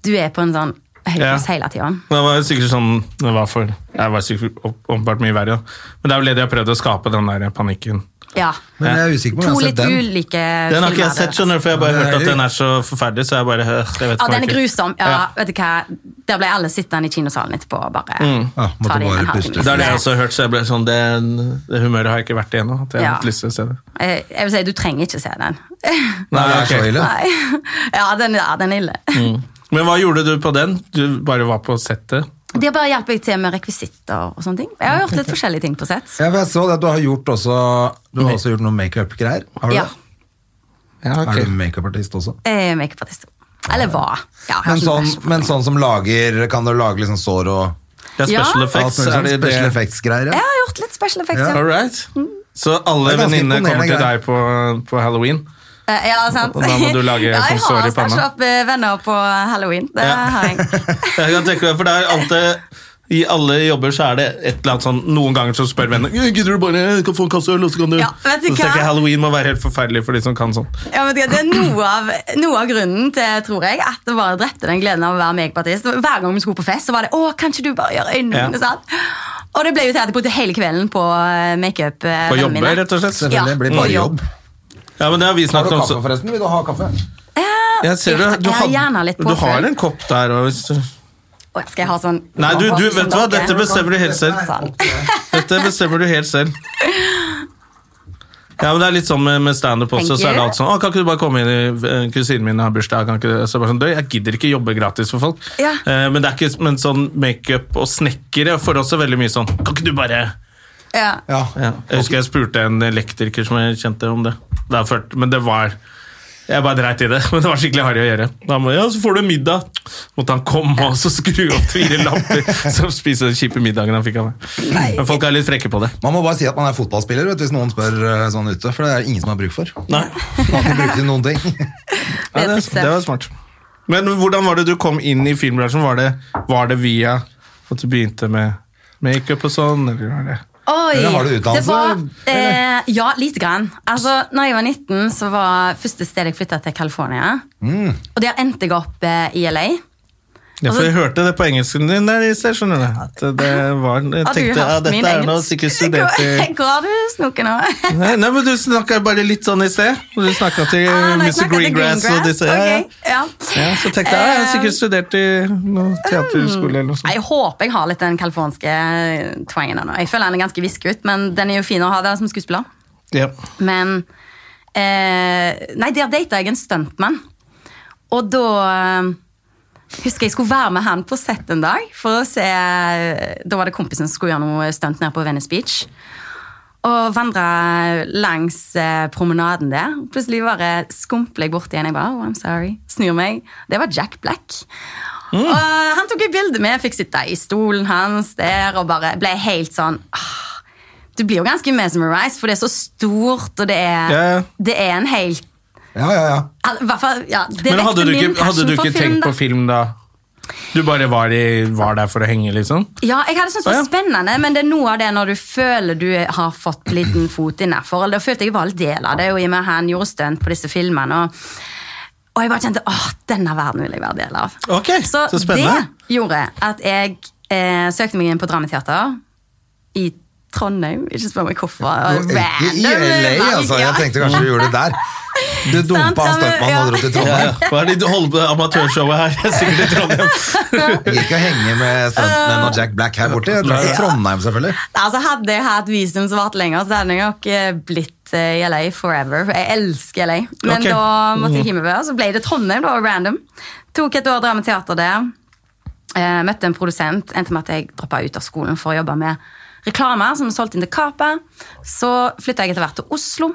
E: du er på en sånn høyplass
A: Ja.
E: hele tiden.
A: Det var jo sikkert sånn Det var for Det var sikkert opp- åpenbart mye verre, da. Men det er vel det de har prøvd å skape, den der panikken.
E: Ja.
B: Men jeg er usikker på om
E: To
B: jeg har
E: litt
B: sett den.
E: ulike
A: Den har ikke
E: filmer,
A: jeg sett,
E: det der.
A: skjønner du, for jeg har bare
B: Ja, det
A: hørt
B: er
A: at
B: jo-
A: den er så forferdelig, så jeg bare øh, jeg vet
E: Ja,
A: faen
E: den er
A: ikke.
E: grusom. Ja,
A: Ja.
E: vet du hva? Der ble alle sittende i kinosalen etterpå og bare
B: Ja, måtte
E: ta det inn
B: bare
E: en
B: puste.
E: halvtime.
A: Det er det jeg også har hørt, så jeg ble sånn Det, det humøret har jeg ikke vært igjennom. At jeg har
E: Ja.
A: hatt lyst til å se det.
E: Eh, Jeg vil si, du trenger ikke se den.
B: Nei, det er
A: ok.
B: så ille.
E: Nei. Ja, den, ja, den er ille.
A: Mm. Men hva gjorde du på den? Du bare var på settet?
E: Det bare hjelper jeg til med rekvisitter og sånne ting. Jeg har gjort litt forskjellige ting på sett.
B: Ja, for jeg så det at du har gjort også Du har også gjort noen makeup-greier. Har du
E: Ja.
B: det?
A: Ja, ok.
B: Er du makeup-artist også?
E: Eh, Makeupartist. Eller hva. Ja, jeg har
B: Men
E: ikke
B: sånn,
E: noe passion.
B: men sånn som lager Kan du lage liksom sår og
A: Ja, special
E: Ja.
A: effects.
B: Alt mulig
A: Er
B: sånn
A: det det?
B: Special effects-greier, ja.
E: Jeg har gjort litt special effects, ja.
A: All right. Så alle
B: Det er ganske
A: venninnene kommer til
B: imponerende
A: deg på, på halloween?
E: Eh, Ja, sant.
A: Og da må du lage
E: ja,
A: sånn sår i
E: Jeg har
A: panna.
E: stasjet opp eh, venner på halloween. Det
A: Ja.
E: har jeg.
A: Jeg kan tenke meg, for det er alltid I alle jobber så er det et eller annet sånn Noen ganger så spør venner «Ja, Gidder du bare jeg kan få en kasse øl, og så kan du
E: Ja, vet du
A: Så tenker
E: hva?
A: jeg halloween må være helt forferdelig for de som kan sånn.
E: Ja, men Det det er noe av, noe av grunnen til tror jeg, at det bare drepte den gleden av å være makeupartist. Hver gang vi skulle på fest, så var det 'Å, kan ikke du bare gjøre øynene
A: Ja.
E: mine?' sant? Og det ble jo til at jeg brukte hele kvelden på eh, makeup. eh,
A: På
E: vennene
A: jobber,
E: mine.
A: rett og slett.
B: Selvfølgelig.
E: Ja,
B: blir bare
E: på
B: jobb.
A: Ja, men det har vi
B: Har du
A: snakket om.
B: kaffe,
A: så-
B: forresten? Vil du ha kaffe?
A: Jeg ser
E: Jeg
A: du, du,
E: har gjerne litt
A: du har
E: påfyll.
A: en kopp der. Og hvis du,
E: Å, skal jeg ha sånn
A: nei, du, du vet du hva, dette
E: bestemmer
A: bestemmer du helt selv. Dette bestemmer du helt selv. Ja, men Det er litt sånn med, med standup også.
E: Thank
A: så er det
E: you.
A: alltid sånn, å, 'Kan ikke du bare komme inn i eh, kusinen min har bursdag?' Kan ikke du? Så er det bare sånn, «Du, Jeg gidder ikke jobbe gratis for folk.
E: Ja.
A: Eh, men det er ikke men sånn makeup og snekkere får også veldig mye sånn 'Kan ikke du bare
E: Ja.
B: Ja.
A: Ja. Jeg husker jeg spurte en elektriker som jeg kjente om det. det er ført, men det var Jeg bare dreit i det, men det var skikkelig harry å gjøre. Da må, ja, Så får du middag. Så måtte han komme og så skru opp fire lamper. Så spise den kjipe middagen han fikk av meg. Men folk er litt frekke på det.
B: Man må bare si at man er fotballspiller vet, du, hvis noen spør eh, sånn ute, for det er ingen som har bruk for. Man
A: Nei,
B: kan ikke bruke til noen ting.
A: ja, det, det var smart. Men hvordan var det du kom inn i filmbransjen? Var det, var det via at du begynte med makeup og sånn? Eller var det?
E: Oi!
B: Eller har du utdannelse,
E: Det var,
B: eller?
E: eh, ja, lite grann. Altså, når jeg var 19, så var første sted jeg flytta til California.
B: Mm.
E: Og der endte jeg opp eh, i LA.
A: Ja,
E: Altså-
A: for jeg hørte det på engelsken din der i sted, skjønner du. At det var, jeg
E: Har du
A: tenkte
E: hørt
A: at
E: min
A: dette er noe
E: engelsk?
A: sikkert studenter
E: Går- Går du snoke nå?
A: Nei, nei, men du snakka bare litt sånn i sted. Du snakka til
E: Ah, nei,
A: Mr.
E: jeg snakker til
A: Eh, Greengrass og disse. Ja,
E: Ok, ja.
A: ja. ja, så tenkte jeg jeg har sikkert studert i noe teaterskole eller noe
E: Nei,
A: sånt.
E: Jeg håper jeg har litt den californske twangen ennå. Jeg føler den er ganske visket ut, men den er jo fin å ha der som skuespiller.
A: Ja.
E: Men eh, Nei, der data jeg en stuntmann. Og da eh, husker jeg skulle være med han på sett en dag. For å se eh, Da var det kompisen som skulle gjøre noe stunt nede på Venice Beach. Og vandra langs eh, promenaden der. Plutselig bare skumpler jeg borti en. Jeg bare, oh, I'm sorry. Snur meg. Det var Jack Black.
A: Mm.
E: Og han tok et bilde med. Jeg fikk sitte i stolen hans der og bare ble helt sånn ah, Du blir jo ganske mesmerized, for det er så stort, og det er,
A: Ja, ja.
E: det er en helt
B: Ja, ja, ja.
E: Al- i hvert fall, ja, det
A: Men
E: vekte
A: hadde du
E: min
A: ikke, hadde
E: passion
A: du
E: for
A: ikke
E: film,
A: tenkt
E: da.
A: på film da? Du bare var, i, var der for å henge, liksom?
E: Ja, jeg hadde syntes det
A: Å,
E: var
A: ja.
E: spennende, men det er noe av det når du føler du har fått liten fot innenfor. Da følte jeg var en del av det, og i og med han gjorde stunt på disse filmene. Og, og jeg bare kjente åh, denne verden vil jeg være del av.
A: Ok,
E: Så,
A: så spennende.
E: det gjorde at jeg eh, søkte meg inn på Dramateater i Trondheim. Ikke spør meg hvorfor.
B: Og Ikke i
E: Random
B: LA,
E: valg,
B: altså.
E: ja.
B: Jeg tenkte kanskje du gjorde det der. Du
E: Sant,
B: dumpa
E: ja,
B: en
E: men-
B: stuntmann og dro til Trondheim.
A: Hva er det du holder på med amatørshowet her? Jeg er sikkert i Trondheim.
B: Jeg gikk og henge med stuntmenn og Jack Black her borte. Jeg dro til Trondheim, selvfølgelig.
E: Altså, hadde jeg hatt visum som varte lenger, så hadde jeg nok eh, blitt eh, i LA forever. for Jeg elsker LA. Men
A: Ok. Mm.
E: da måtte jeg hjemmefra, så ble det Trondheim. da, random. Tok et år dramateater der. Eh, møtte en produsent. Endte med at jeg droppa ut av skolen for å jobbe med reklame. som vi solgte inn til Kapa. Så flytta jeg etter hvert til Oslo.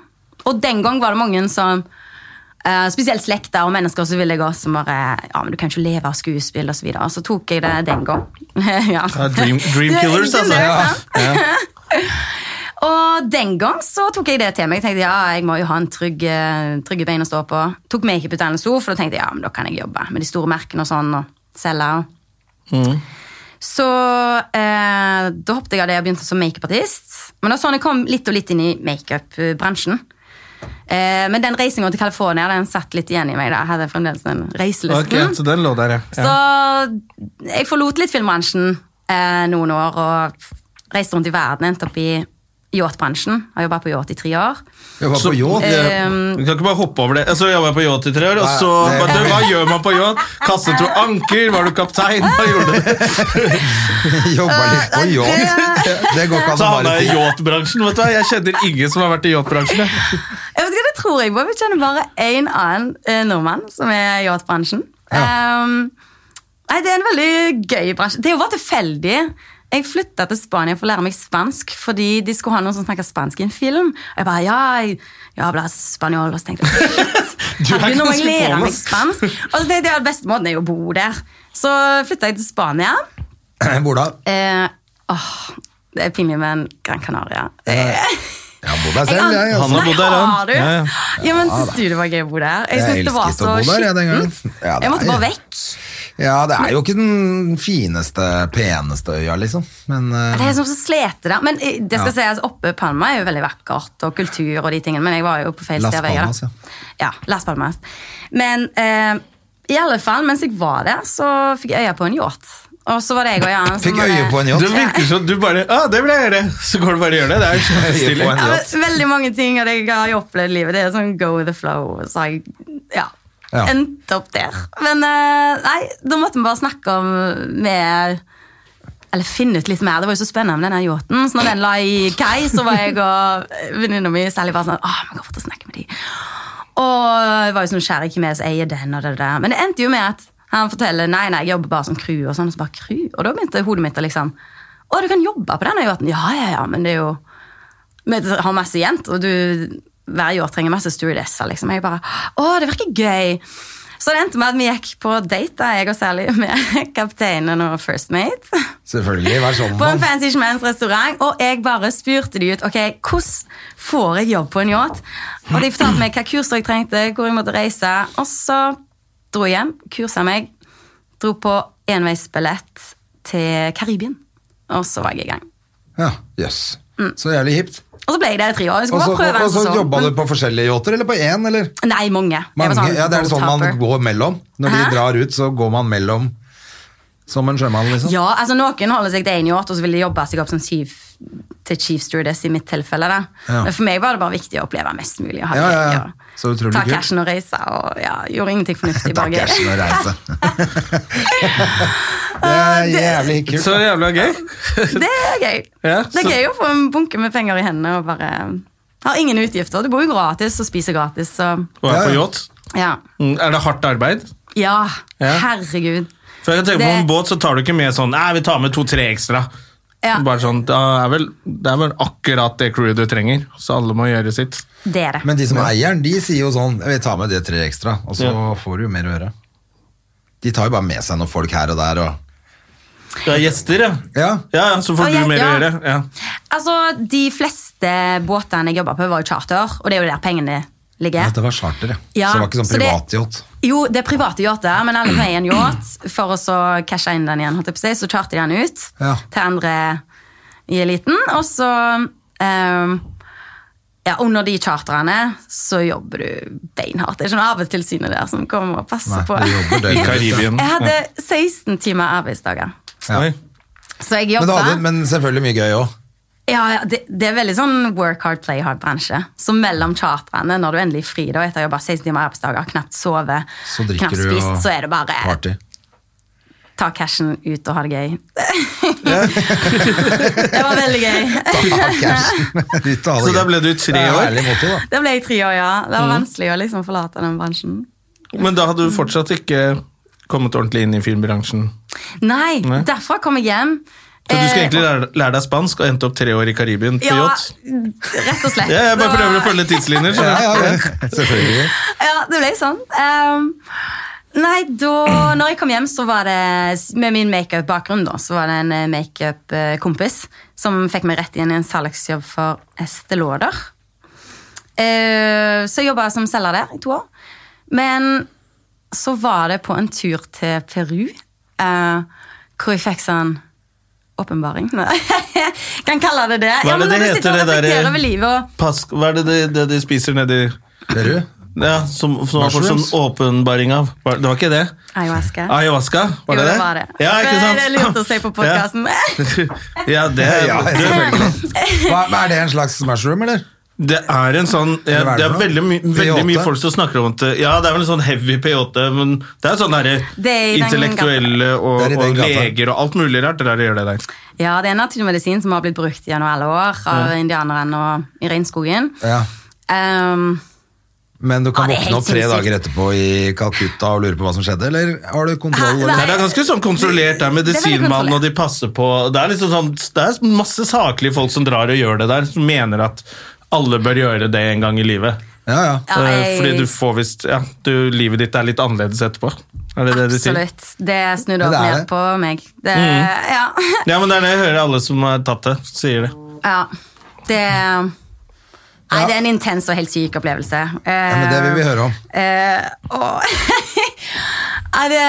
E: Og den gang var det mange som eh, spesielt slekter og mennesker som ville gå som bare Ja, men du kan ikke leve av skuespill, og så videre. Så tok jeg det den gang. ja.
A: Ja, dream, dream killers, altså.
E: Ja.
A: Ja.
E: Og den gang så tok jeg det til meg. Jeg tenkte, ja, jeg må jo ha en trygg, eh, trygge bein å stå på. Tok makeup-utdannelse også, for da tenkte jeg ja, men da kan jeg jobbe med de store merkene og sånn. og selge. Og.
A: Mm.
E: Så eh, da hoppet jeg av det og begynte som makeupartist. Men det var sånn jeg kom litt og litt inn i makeupbransjen. Eh, men den reisingen til California den satt litt igjen i meg. da. Jeg hadde fremdeles den
A: Ok,
E: reiselysten.
A: så den lå der, ja. ja.
E: Så jeg forlot litt filmbransjen eh, noen år og reiste rundt i verden. Endte opp i yachtbransjen. Har jobba på yacht i tre år. Ehm,
B: Jeg var
A: Så-
B: på yacht.
E: Eh,
A: Vi kan ikke bare hoppe over det. Altså, jeg var på yacht i tre år, og
B: Nei,
A: så
B: det-
A: bare, du, Hva gjør man på yacht? Kastet du anker? Var du kaptein? Hva gjorde du?
B: Jobba litt
E: eh,
B: på yacht. Det går ikke an
A: Så
B: å
A: havna
B: Altså, bare
A: jeg i
B: si.
A: yachtbransjen. vet du hva? Jeg kjenner ingen som har vært i yachtbransjen. jeg.
E: Jeg vet ikke, det tror jeg på. Vi kjenner bare én annen eh, nordmann som er i yachtbransjen. Ehm, nei, det er en veldig gøy bransje. Det var tilfeldig. Jeg flytta til Spania for å lære meg spansk fordi de skulle ha noen som snakka spansk i en film. Og jeg bare, ja, jeg, ja, bla, spanjol, og så tenkte jeg, shit.
A: Du er
E: Her begynner jeg å
A: ganske på,
E: lære meg
A: ass.
E: spansk. Og så tenkte jeg, beste måten er jo å bo der. Så flytta jeg til Spania.
B: Hvor da?
E: Eh, åh, det er pinlig, men Gran Canaria. Eh,
B: Jeg har bodd der
E: Jeg
B: selv,
E: an-
B: jeg.
A: Han
B: Altså.
A: har bodd der, han.
E: Nei, har du?
A: Ja,
E: Ja,
A: ja.
E: men synes du det var gøy å bo der? Jeg
B: Jeg
E: synes det var
B: elsket
E: så
B: å bo der, jeg, den gangen.
E: skittent.
B: Ja, det
E: Jeg måtte
B: er-
E: bare vekk.
B: Ja, det er jo ikke den fineste, peneste øya, liksom. Men eh,
E: Det er sånn som så slete der. Men eh, det skal
B: Ja.
E: sies, oppe Palma er jo veldig vakkert, og kultur og de tingene, men jeg var jo på feil
B: Las
E: sted. av øya, da.
B: Palmas, ja.
E: Ja, Las Palmas. Men eh, i alle fall, mens jeg var der, så fikk jeg øye på en yacht. Og så var det jeg og Jan som
B: fikk
E: bare-
B: øye på en
A: Du
B: yacht.
A: virker som du bare ah, 'Det vil jeg gjøre', så går du bare og gjør det. Det er jo
B: Øye på
A: kjempestilig.
B: en
E: Ja, men
B: yacht.
E: Veldig mange ting av det jeg har opplevd i livet. Det er sånn go with the flow. Så jeg ja,
B: Ja.
E: endte opp der. Men eh, nei, da måtte vi bare snakke om mer Eller finne ut litt mer. Det var jo så spennende med denne yachten. Så når den la i kai, så var jeg og venninna mi Sally bare sånn Å, vi går bort og snakker med de. Og jeg var jo så nysgjerrig hvem er det som eier den og det der. Men det endte jo med at han forteller nei, nei, jeg jobber bare som crew. Og sånn, og så bare crew. Og da begynte hodet mitt å liksom Å, du kan jobbe på denne yachten? Ja, ja, ja, men det er jo vi har masse jenter, og du hver år trenger masse stewardesser. Liksom. Jeg bare Å, det virker gøy! Så det endte med at vi gikk på date, da, jeg og Sally, med kapteinen og first mate.
B: Selvfølgelig. Vær sånn.
E: På
B: mann.
E: en fancy schmans restaurant, og jeg bare spurte de ut ok, hvordan får jeg jobb på en yacht. Og de fortalte meg hva kurs jeg trengte, hvor jeg måtte reise. Og så dro jeg hjem, kursa meg, dro på enveisbillett til Karibien. Og så var jeg i gang.
B: Ja, jøss. Så jævlig hipt.
E: Og så ble Mm. jeg der i tre år. Jeg
B: Og
E: skulle
B: så,
E: bare prøve
B: og
E: en sånn.
B: så
E: sesong,
B: jobba
E: men-
B: du på forskjellige yachter, eller på én, eller?
E: Nei, mange. Jeg var
B: Mange.
E: sånn
B: ja, det er sånn
E: boat-hopper.
B: man går mellom. Når de
E: Hæ?
B: drar ut, så går man mellom som en sjømann, liksom.
E: Ja, altså Noen holder seg til én yacht, og så vil de jobbe seg opp som chief, til chief stewardess. i mitt tilfelle. Da.
B: Ja.
E: Men for meg var det bare viktig å oppleve mest mulig. Og ha det
B: Ja, ja,
E: gøy,
B: ja.
E: og
B: Så utrolig
E: Ta
B: kult.
E: cashen og reise. og ja, Gjorde ingenting fornuftig.
B: Ta
E: bare gøy.
B: cashen og reise. det er jævlig kult.
A: Så
B: da.
A: jævla gøy.
E: Det er gøy.
A: Ja,
E: det er
A: så-
E: gøy å få en bunke med penger i hendene og bare har ingen utgifter. Du bor jo gratis og spiser gratis. Så
A: Og er
B: Ja,
A: på
B: ja.
A: yacht.
E: ja.
A: Mm, Er det hardt arbeid?
E: ja.
A: Ja.
E: Herregud.
A: For jeg tenker På
E: Det-
A: en båt så tar du ikke med sånn Nei, vi tar med to-tre ekstra.
E: Ja.
A: Bare sånn, da er vel, Det er vel akkurat det crewet du trenger, så alle må gjøre sitt.
E: Det er det.
B: Men de som er eieren, de sier jo sånn Vi tar med det tre ekstra, og så
A: Ja.
B: får du jo mer å gjøre. De tar jo bare med seg noen folk her og der og
A: Du er gjester, ja.
B: Ja.
A: Ja, ja, Så får du
E: Og jeg-
A: mer å
E: ja.
A: gjøre. Ja.
E: Altså, De fleste båtene jeg jobba på, var jo charter, og det er jo der pengene ligger.
B: Dette var charter, ja.
E: Ja,
B: Så det var ikke sånn
E: så det-
B: privatyacht.
E: Jo, det er private yachter, men alle pleier en yacht for å så cashe inn den igjen. holdt jeg på å si. Så charter de den ut
B: Ja.
E: til andre i eliten. Og så ehm, ja, Under de charterne så jobber du beinhardt. Det er ikke noe Arbeidstilsynet der som kommer og passer
B: Nei,
E: på.
B: du jobber
A: I
B: døgnet.
A: Karibien.
E: Jeg hadde 16 timer arbeidsdager.
B: Ja.
A: Oi.
E: Så jeg
B: Men, da
E: jobba
B: hadde- men selvfølgelig mye gøy òg.
E: ja, ja, det, det er veldig sånn work hard, play hard-bransje. Så mellom charterne, når du endelig er fri da, etter å ha jobba 16 timer arbeidsdager, knapt sove,
B: Så drikker
E: knapt
B: du
E: spist,
B: og
E: så er det bare
B: party.
E: ta cashen ut og ha det gøy. det var veldig gøy.
B: Ta cashen ut og ha det
A: Så da
B: gøy.
A: ble du tre
B: Det er
A: år?
B: ærlig motto, da.
E: Det ble jeg tre år, ja. Det var
A: Mm.
E: vanskelig å liksom forlate den bransjen.
A: Men da hadde du fortsatt ikke kommet ordentlig inn i filmbransjen.
E: Nei,
A: Nei.
E: derfra kom jeg hjem.
A: Så du skulle
E: Eh,
A: egentlig lære, lære deg spansk og endte opp tre år i Karibien på
E: ja,
A: yacht?
E: rett og slett.
A: Ja, jeg bare
E: Det var-
A: prøver å følge tidslinjer.
B: Ja,
A: skjønner du?
B: ja, ja. Selvfølgelig.
E: Ja, det ble sånn. Ehm, nei, da når jeg kom hjem, så var det med min makeup-bakgrunn, da, så var det en eh, makeup-kompis som fikk meg rett inn i en salgsjobb for Estée Lauder. Eh, så jeg jobba som selger der i to år. Men så var det på en tur til Peru, eh, hvor jeg fikk sånn åpenbaring. kan kalle det det.
A: Hva er det
E: når
A: det
E: du sitter
A: heter,
E: og
A: det
E: reflekterer
A: der- eh?
E: over livet og
A: Pas- Hva er det, det, det de spiser nedi
B: Ser du?
A: Ja, som, som har fått sånn
B: Mushrooms?
A: åpenbaring av Var- Det var ikke det?
E: Ayahuasca.
A: Ayahuasca? Var
E: Jo,
A: det det?
E: det var det.
A: Ja, ikke
E: Det-
A: sant?
E: det er lurt å si på podcasten.
A: Ja, ja det,
B: Ja,
A: det,
B: selvfølgelig. Hva, hva er det en slags mushroom, eller?
A: det er en sånn ja,
B: Hva er det
A: Det er
B: for noe?
A: veldig, my, veldig
B: P8?
A: mye folk som snakker om det. Ja, det er vel en sånn heavy P8, men det er sånn derre
E: Det er i den
A: intellektuelle og,
B: Det er i den
A: og
B: gata.
A: leger og alt mulig rart. Det der gjør det der.
E: Ja, det er en naturmedisin som har blitt brukt gjennom alle år av indianerne og i regnskogen.
B: Ja.
E: Ehm,
B: Men du kan
E: Ja, det er
B: våkne
E: helt
B: opp tre
E: sinnssykt.
B: dager etterpå i Calcutta og lure på hva som skjedde, eller har du kontroll?
E: Hæ?
B: Eller?
A: Nei, det er ganske sånn kontrollert. Det er
E: veldig
A: medisinmannen,
E: kontrollert.
A: og de passer på det er, liksom sånn, det er masse saklige folk som drar og gjør det der, som mener at alle bør gjøre det en gang i livet.
B: Ja, ja.
E: Ja,
A: Eh,
E: jeg-
A: Fordi du får visst ja, du, Livet ditt er litt annerledes etterpå. Er det det de sier?
E: absolutt. Det snudde
B: Men
E: opp
B: det er
E: ned
B: det.
E: på meg. Det, ja.
A: Ja, men det er det jeg hører alle som har tatt det, sier det.
E: ja. Det Nei,
B: Ja.
E: det er en intens og helt syk opplevelse. Eh,
B: ja men det vil vi høre om.
E: Er det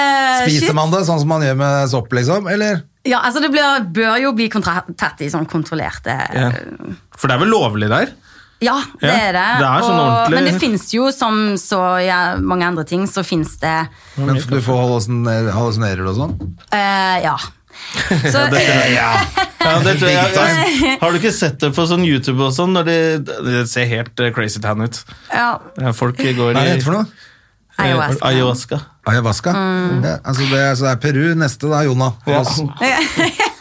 B: Spiser
E: Eh, shit?
B: man det sånn som man gjør med sopp, liksom? Eller?
E: Ja, altså det blir, bør jo bli kontra- tatt i sånn kontrollerte eh,
A: Ja. For det er vel lovlig der?
E: Ja, det
A: Ja,
E: er det.
A: det er sånn ordentlig-
E: Men det fins jo, som så ja, mange andre ting, så fins det
B: Men du får hallusin- eh, hallusinerer og sånn?
E: eh, Ja. Så,
A: Ja, det tror jeg, Har du ikke sett det på sånn YouTube og sånn? når Det, det ser helt eh, crazy tan ut.
E: ja,
A: Ja, Folk går
B: Hva
A: i
B: er det for noe?
A: eh,
E: Mm. ayahuasca.
A: ayahuasca.
B: Ayahuasca?
E: Mm.
B: Ja, altså det, så det er Peru neste, da, Jona. for
A: Ja.
B: oss.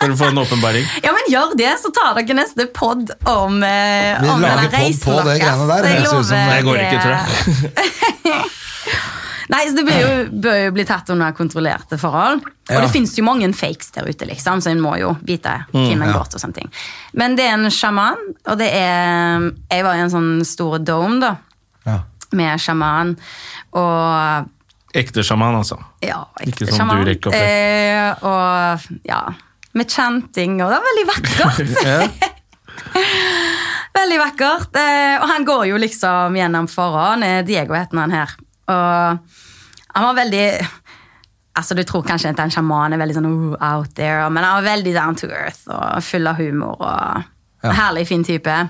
A: For å få en åpenbaring.
E: Ja, men gjør det, så tar dere neste pod om, eh,
B: Vi
E: om
B: lager
E: denne
B: podd på det
E: reisen
B: greiene der,
E: deres.
B: det høres ut som-
A: Nei, jeg går ikke, tror
E: jeg. Nei, så Det blir jo, bør jo bli tatt under kontrollerte forhold. Og
B: Ja.
E: det finnes jo mange fakes der ute, liksom, så en må jo vite
A: Mm,
E: hvem en
B: ja.
E: går til. og sånne ting. Men det er en sjaman, og det er Jeg var i en sånn stor dome, da,
B: Ja.
E: med sjaman. Og
A: Ekte sjaman, altså.
E: ja,
A: Ikke
E: ekte
A: sånn
E: sjaman.
A: du rekker opp i.
E: eh, og ja, med chanting, og det var veldig vakkert. veldig vakkert. Eh, og han går jo liksom gjennom foran. eh, Diego heter han her. Og han var veldig Altså, Du tror kanskje at en sjaman er veldig sånn oh, out there, men han var veldig down to earth og full av humor. og Herlig fin type.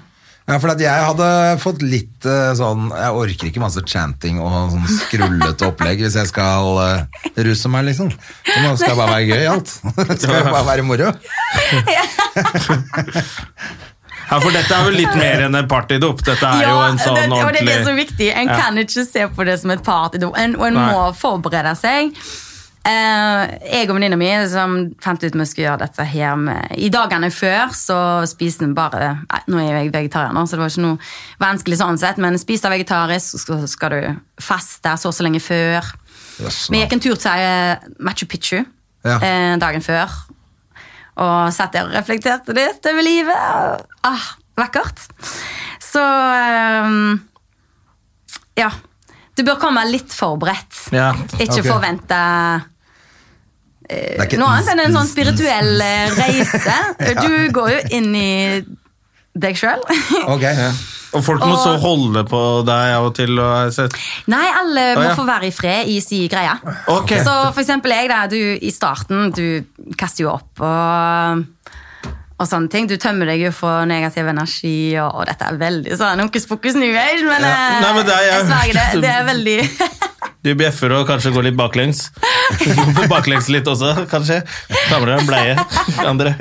B: Ja, for at jeg hadde fått litt eh, sånn Jeg orker ikke masse chanting og sånn skrullete opplegg hvis jeg skal eh, ruse meg, liksom. Og nå skal jeg bare være gøy i alt. skal jeg bare være moro.
A: Ja, For dette er vel litt mer enn en partydop. Dette er jo en sånn
E: det, og det er
A: ordentlig
E: det som er viktig. En
A: Ja.
E: kan ikke se på det som et party, og en, og en
A: Nei.
E: må forberede seg. Eh, jeg og venninna mi som fant ut vi skulle gjøre dette her med, I dagene før så spiste vi bare nei, Nå er jeg vegetarier, nå, så det var ikke noe vanskelig sånn sett, men spis deg vegetarisk, så skal, skal du faste så og så lenge før.
B: Jøss,
E: Vi gikk en tur til eh, Machu Picchu
B: Ja.
E: eh, dagen før. Og satt der og reflekterte litt over livet. og- Ah, vakkert. Så eh, Ja. Du bør komme litt forberedt.
A: Ja.
E: Ikke
B: ok.
E: forvente eh,
B: det er ikke-
E: noe annet enn en sånn spirituell eh, reise. Du går jo inn i deg sjøl.
B: Ok, ja.
A: Og folk må
E: Og-
A: så holde på deg av og til. Og jeg har sett.
E: Nei, alle
A: Å,
E: må
A: ja.
E: få være i fred i si greie.
A: Ok.
E: Så for eksempel jeg, da, du, i starten, du kaster jo opp og, og sånne ting. Du tømmer deg jo for negativ energi, og, og dette er veldig sånn hokus pokus new age, men, eh,
A: Nei, men det er-
E: jeg sverger det. Det er veldig
A: Du bjeffer og kanskje går litt baklengs. Du går baklengs litt også, kanskje. Ta med deg en bleie. Andre.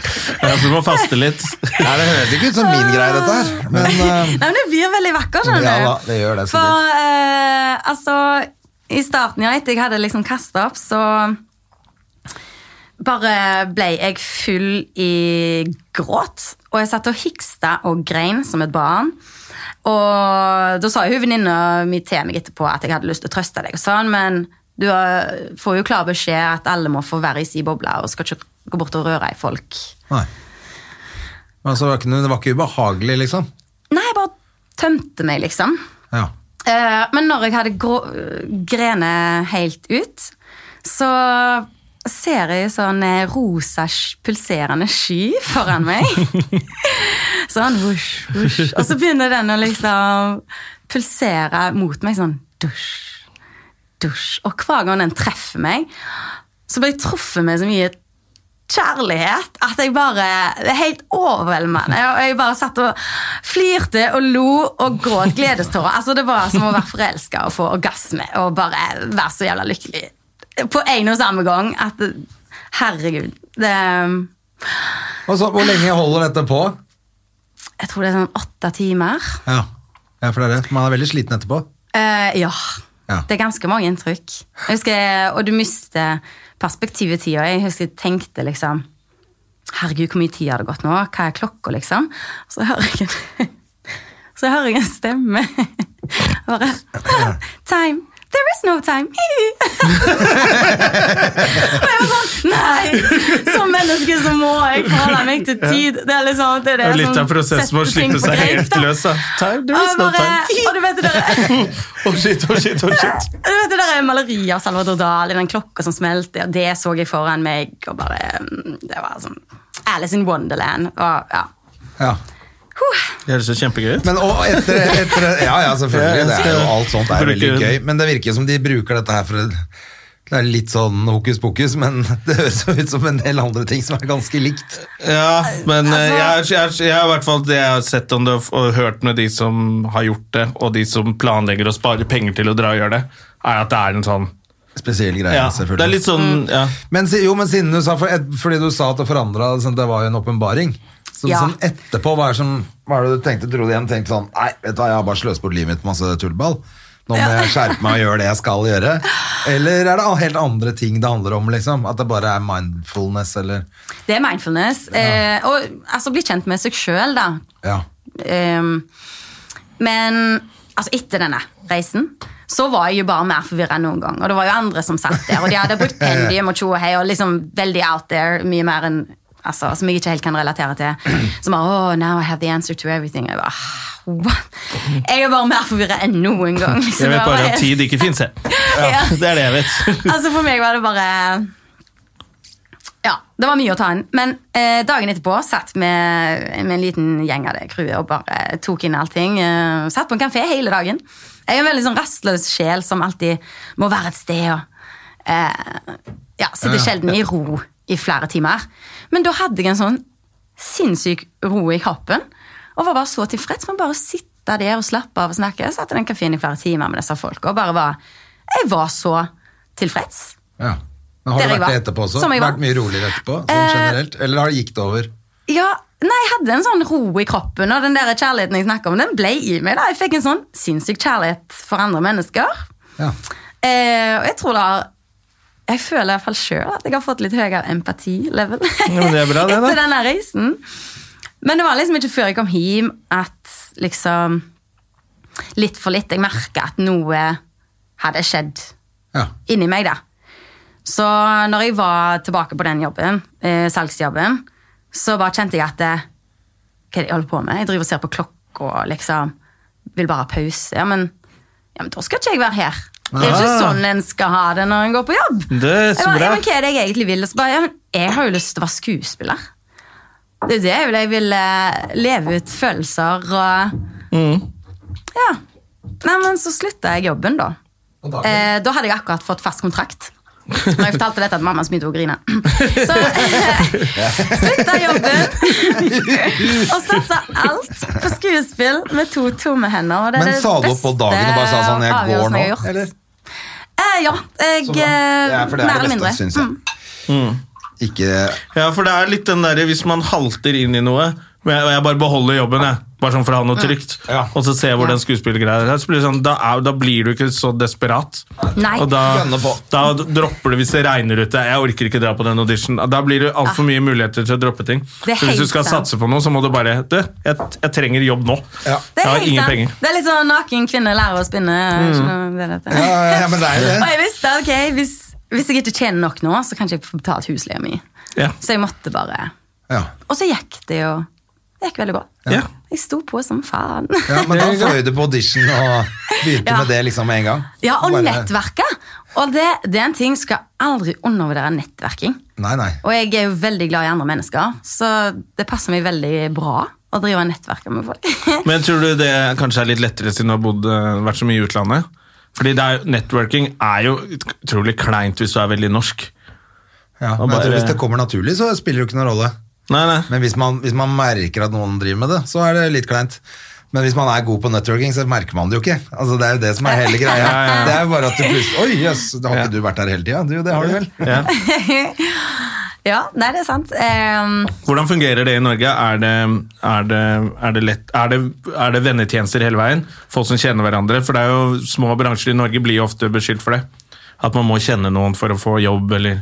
A: Ja, for du må faste litt.
B: Nei, det høres ikke ut som min greie, dette her. Men eh,
E: Nei, men det blir veldig vakkert, skjønner
B: ja
E: du.
B: da, det gjør det sikkert.
E: For eh, altså I starten, ja, etter jeg hadde liksom kasta opp, så bare ble jeg full i gråt. Og jeg satt og hiksta og grein som et barn. Og da sa jo venninna mi til meg etterpå at jeg hadde lyst til å trøste deg, og sånn, men du eh, får jo klar beskjed at alle må få være i si boble og skal ikke gå bort og røre i folk.
B: Nei. Men altså, det, var ikke, noe- det var ikke ubehagelig, liksom.
E: Nei, jeg bare tømte meg, liksom.
B: Ja.
E: Eh, men når jeg hadde grå, grene helt ut, så ser jeg sånn eh, rosa sk- pulserende sky foran meg. sånn vusj, vusj. Og så begynner den å liksom pulsere mot meg sånn dusj, dusj. Og hver gang den treffer meg, så blir jeg truffet med så mye kjærlighet at jeg bare Det er helt overveldende. Og jeg bare satt og flirte og lo og gråt gledestårer. Altså, det var som å være forelska og få orgasme og bare være så jævla lykkelig på en og samme gang at Herregud. Det
B: Og så, hvor lenge holder dette på?
E: Jeg tror det er sånn åtte timer.
B: Ja. ja, for det er det. Man er veldig sliten etterpå.
E: Eh, ja.
B: Ja.
E: Det er ganske mange inntrykk. Jeg husker, og du mister perspektivet i tida. Jeg husker jeg tenkte liksom Herregud, hvor mye tid har det gått nå? Hva er klokka, liksom? Så hører jeg en, så hører jeg en stemme. Bare Time. There is no time. og jeg var sånn Nei! Som menneske så må jeg forholde meg til tid. Det er liksom det er det
A: Og litt
E: som
A: av prosessen med å
E: setter ting
A: slippe
E: på
A: seg
E: greip,
A: helt
E: da.
A: løs. da. Time, there
E: Og
A: is
E: jeg
A: no
E: bare-
A: time.
E: Og du vet det der
A: Oh shit, oh shit, oh shit.
E: du vet, det der er maleriet av Salvador Dali, den klokka som smelter, og det så jeg foran meg, og bare mm, Det var sånn Alice in Wonderland. Og, ja.
B: Ja.
A: Det høres jo kjempegøy ut.
B: Men og etter, etter Ja, ja, selvfølgelig. Det er jo alt sånt er veldig
A: Bruker-
B: gøy. Men det virker som de bruker dette her for å- det er litt sånn hokus pokus, men det høres jo ut som en del andre ting som er ganske likt.
A: Ja, men eh,
B: Altså-
A: jeg, er- jeg, er- jeg, er i hvert fall det jeg har sett om det og- og hørt med de som har gjort det, og de som planlegger å spare penger til å dra og gjøre det, er at det er en sånn
B: Spesiell greie,
A: ja,
B: selvfølgelig.
A: Det er litt sånn
B: Mm.
A: ja.
B: Men si- jo, men siden du sa for, et, Fordi du sa at det forandra Det var jo en åpenbaring. Så
E: Ja.
B: sånn etterpå, hva er, som, hva er det du tenkte? Dro du hjem og tenkte sånn Nei, vet du hva, jeg har bare sløst bort livet mitt på masse tullball. Nå må jeg skjerpe meg og gjøre det jeg skal gjøre. Eller er det helt andre ting det handler om? liksom? At det bare er mindfulness, eller
E: Det er mindfulness. Eh, og altså bli kjent med seg sjøl, da.
B: Ja.
E: Ehm, men altså, etter denne reisen så var jeg jo bare mer forvirra enn noen gang. Og det var jo andre som satt der, og de hadde brukt pendium og tjo og hei, og liksom veldig out there, mye mer enn altså, Som jeg ikke helt kan relatere til. Som bare oh, now I have the answer to everything. Og Jeg bare, «Ah, what? Jeg er bare mer forvirra enn noen gang. liksom.
A: Jeg
E: Det
A: vet
E: var
A: bare at tid ikke fins, jeg.
E: Ja.
A: Det er det jeg vet.
E: Altså For meg var det bare Ja, det var mye å ta inn. Men eh, dagen etterpå satt med, med en liten gjeng av det crewet og bare tok inn allting. Eh, satt på en kafé hele dagen. Jeg er en veldig sånn rastløs sjel som alltid må være et sted og eh, ja, sitter sjelden i ro i flere timer. Men da hadde jeg en sånn sinnssyk ro i kroppen og var bare så tilfreds med å bare sitte der og slappe av og snakke. Jeg satt i den kafeen i flere timer med disse folka og bare var Jeg var så tilfreds.
B: Ja. Men har
E: Der
B: det
E: jeg
B: vært det
E: var.
B: etterpå også?
E: Som jeg var.
B: Vært mye roligere etterpå, sånn
E: Eh,
B: generelt? Eller har det gikk det over?
E: Ja, nei, jeg hadde en sånn ro i kroppen, og den der kjærligheten jeg snakker om, den ble i meg. da. Jeg fikk en sånn sinnssyk kjærlighet for andre mennesker.
B: Ja.
E: Eh, og jeg tror da Jeg føler i hvert fall sjøl at jeg har fått litt høyere empati-level
A: men det er bra, det, da.
E: etter den der reisen. Men det var liksom ikke før jeg kom hjem at liksom Litt for litt. Jeg merka at noe hadde skjedd
B: ja.
E: inni meg, da. Så når jeg var tilbake på den jobben, eh, salgsjobben, så bare kjente jeg at eh, Hva er det jeg holder på med? Jeg driver og ser på klokka og liksom vil bare ha pause. Ja, men, ja, men da skal ikke jeg være her. Det er jo ikke
A: Ah.
E: sånn en skal ha det når en går på jobb.
A: Det er
E: Jeg
A: så
E: bare,
A: bra.
E: Ja, men hva er det jeg egentlig vil? Og så bare, ja, men jeg har jo lyst til å være skuespiller. Det er jo det jeg vil. Jeg vil eh, leve ut følelser og
A: Mm.
E: Ja. Nei, men så slutta jeg jobben, da.
B: Og da-
E: Eh, da hadde jeg akkurat fått fast kontrakt. Når jeg fortalte dette, at mamma begynte å grine. Så slutta jobben og satsa alt på skuespill med to tomme hender. Og det er
B: Men
E: det
B: sa du opp på
E: beste
B: dagen og bare sa sånn Jeg går
E: avgjørelsen
B: nå?
E: jeg har gjort.
B: Eller?
E: Eh, ja. Jeg, eh,
B: Så bra. Ja, for det er
E: mer
B: det
E: eller mindre. Mm.
B: beste, syns jeg. Mm. Ikke
A: Ja, for det er litt den derre hvis man halter inn i noe men jeg, og jeg bare beholder jobben, jeg. Bare sånn for å ha noe trygt.
B: Ja.
A: Og så ser jeg hvor den skuespillergreia er. Så blir det sånn, da, er, da blir du ikke så desperat.
E: Nei.
A: Og da,
B: Gønne på.
A: da dropper du hvis det regner ute. Jeg orker ikke dra på den audition. Da blir det altfor mye muligheter til å droppe ting.
E: Ah. Det er
A: Så hvis du
E: helt
A: skal
E: sant.
A: satse på noe, så må du bare Du, jeg, jeg trenger jobb nå.
B: Ja.
A: Jeg
E: Det er,
A: har
E: helt
A: ingen
E: sant.
A: penger. Mm.
E: det er litt sånn naken kvinne lærer å spinne. Jeg skjønner hva det heter.
B: Ja, ja, ja, men det er jo
E: Og
B: det.
E: jeg visste ok, hvis, hvis jeg ikke tjener nok nå, så kan jeg ikke få betalt husleia mi.
A: Ja.
E: Så jeg måtte bare
B: Ja.
E: Og så gikk det jo Det gikk veldig bra.
A: Ja.
E: Jeg sto på som faen.
B: ja, Men da fløy du på audition og begynte
E: Ja.
B: med det liksom med en gang?
E: Ja, og
B: Bare-
E: nettverket! Og det, det er en ting skal aldri undervurdere nettverking.
B: Nei, nei.
E: Og jeg er jo veldig glad i andre mennesker, så det passer meg veldig bra å drive nettverket med folk.
A: Men tror du det kanskje er litt lettere siden du har bodd, eh, vært så mye i utlandet? Fordi det er, networking er jo utrolig kleint hvis du er veldig norsk.
B: Ja,
A: Og
B: men jeg tror
A: bare-
B: Hvis det kommer naturlig, så spiller det jo ikke noen rolle.
A: Nei, nei.
B: Men hvis man, hvis man merker at noen driver med det, så er det litt kleint. Men hvis man er god på networking, så merker man det jo ikke. Altså, det er jo det som er hele greia.
A: Ja, ja.
B: Det er jo bare at du plutselig Oi, jøss, da har
A: Ja.
B: ikke du vært der hele tida? Jo, det har du vel.
A: Ja.
E: ja, nei, det er sant. Ehm,
A: Hvordan fungerer det i Norge? Er det, er det, er det, lett, er det, er det vennetjenester hele veien? Folk som kjenner hverandre? For det er jo små bransjer i Norge blir jo ofte beskyldt for det. At man må kjenne noen for å få jobb, eller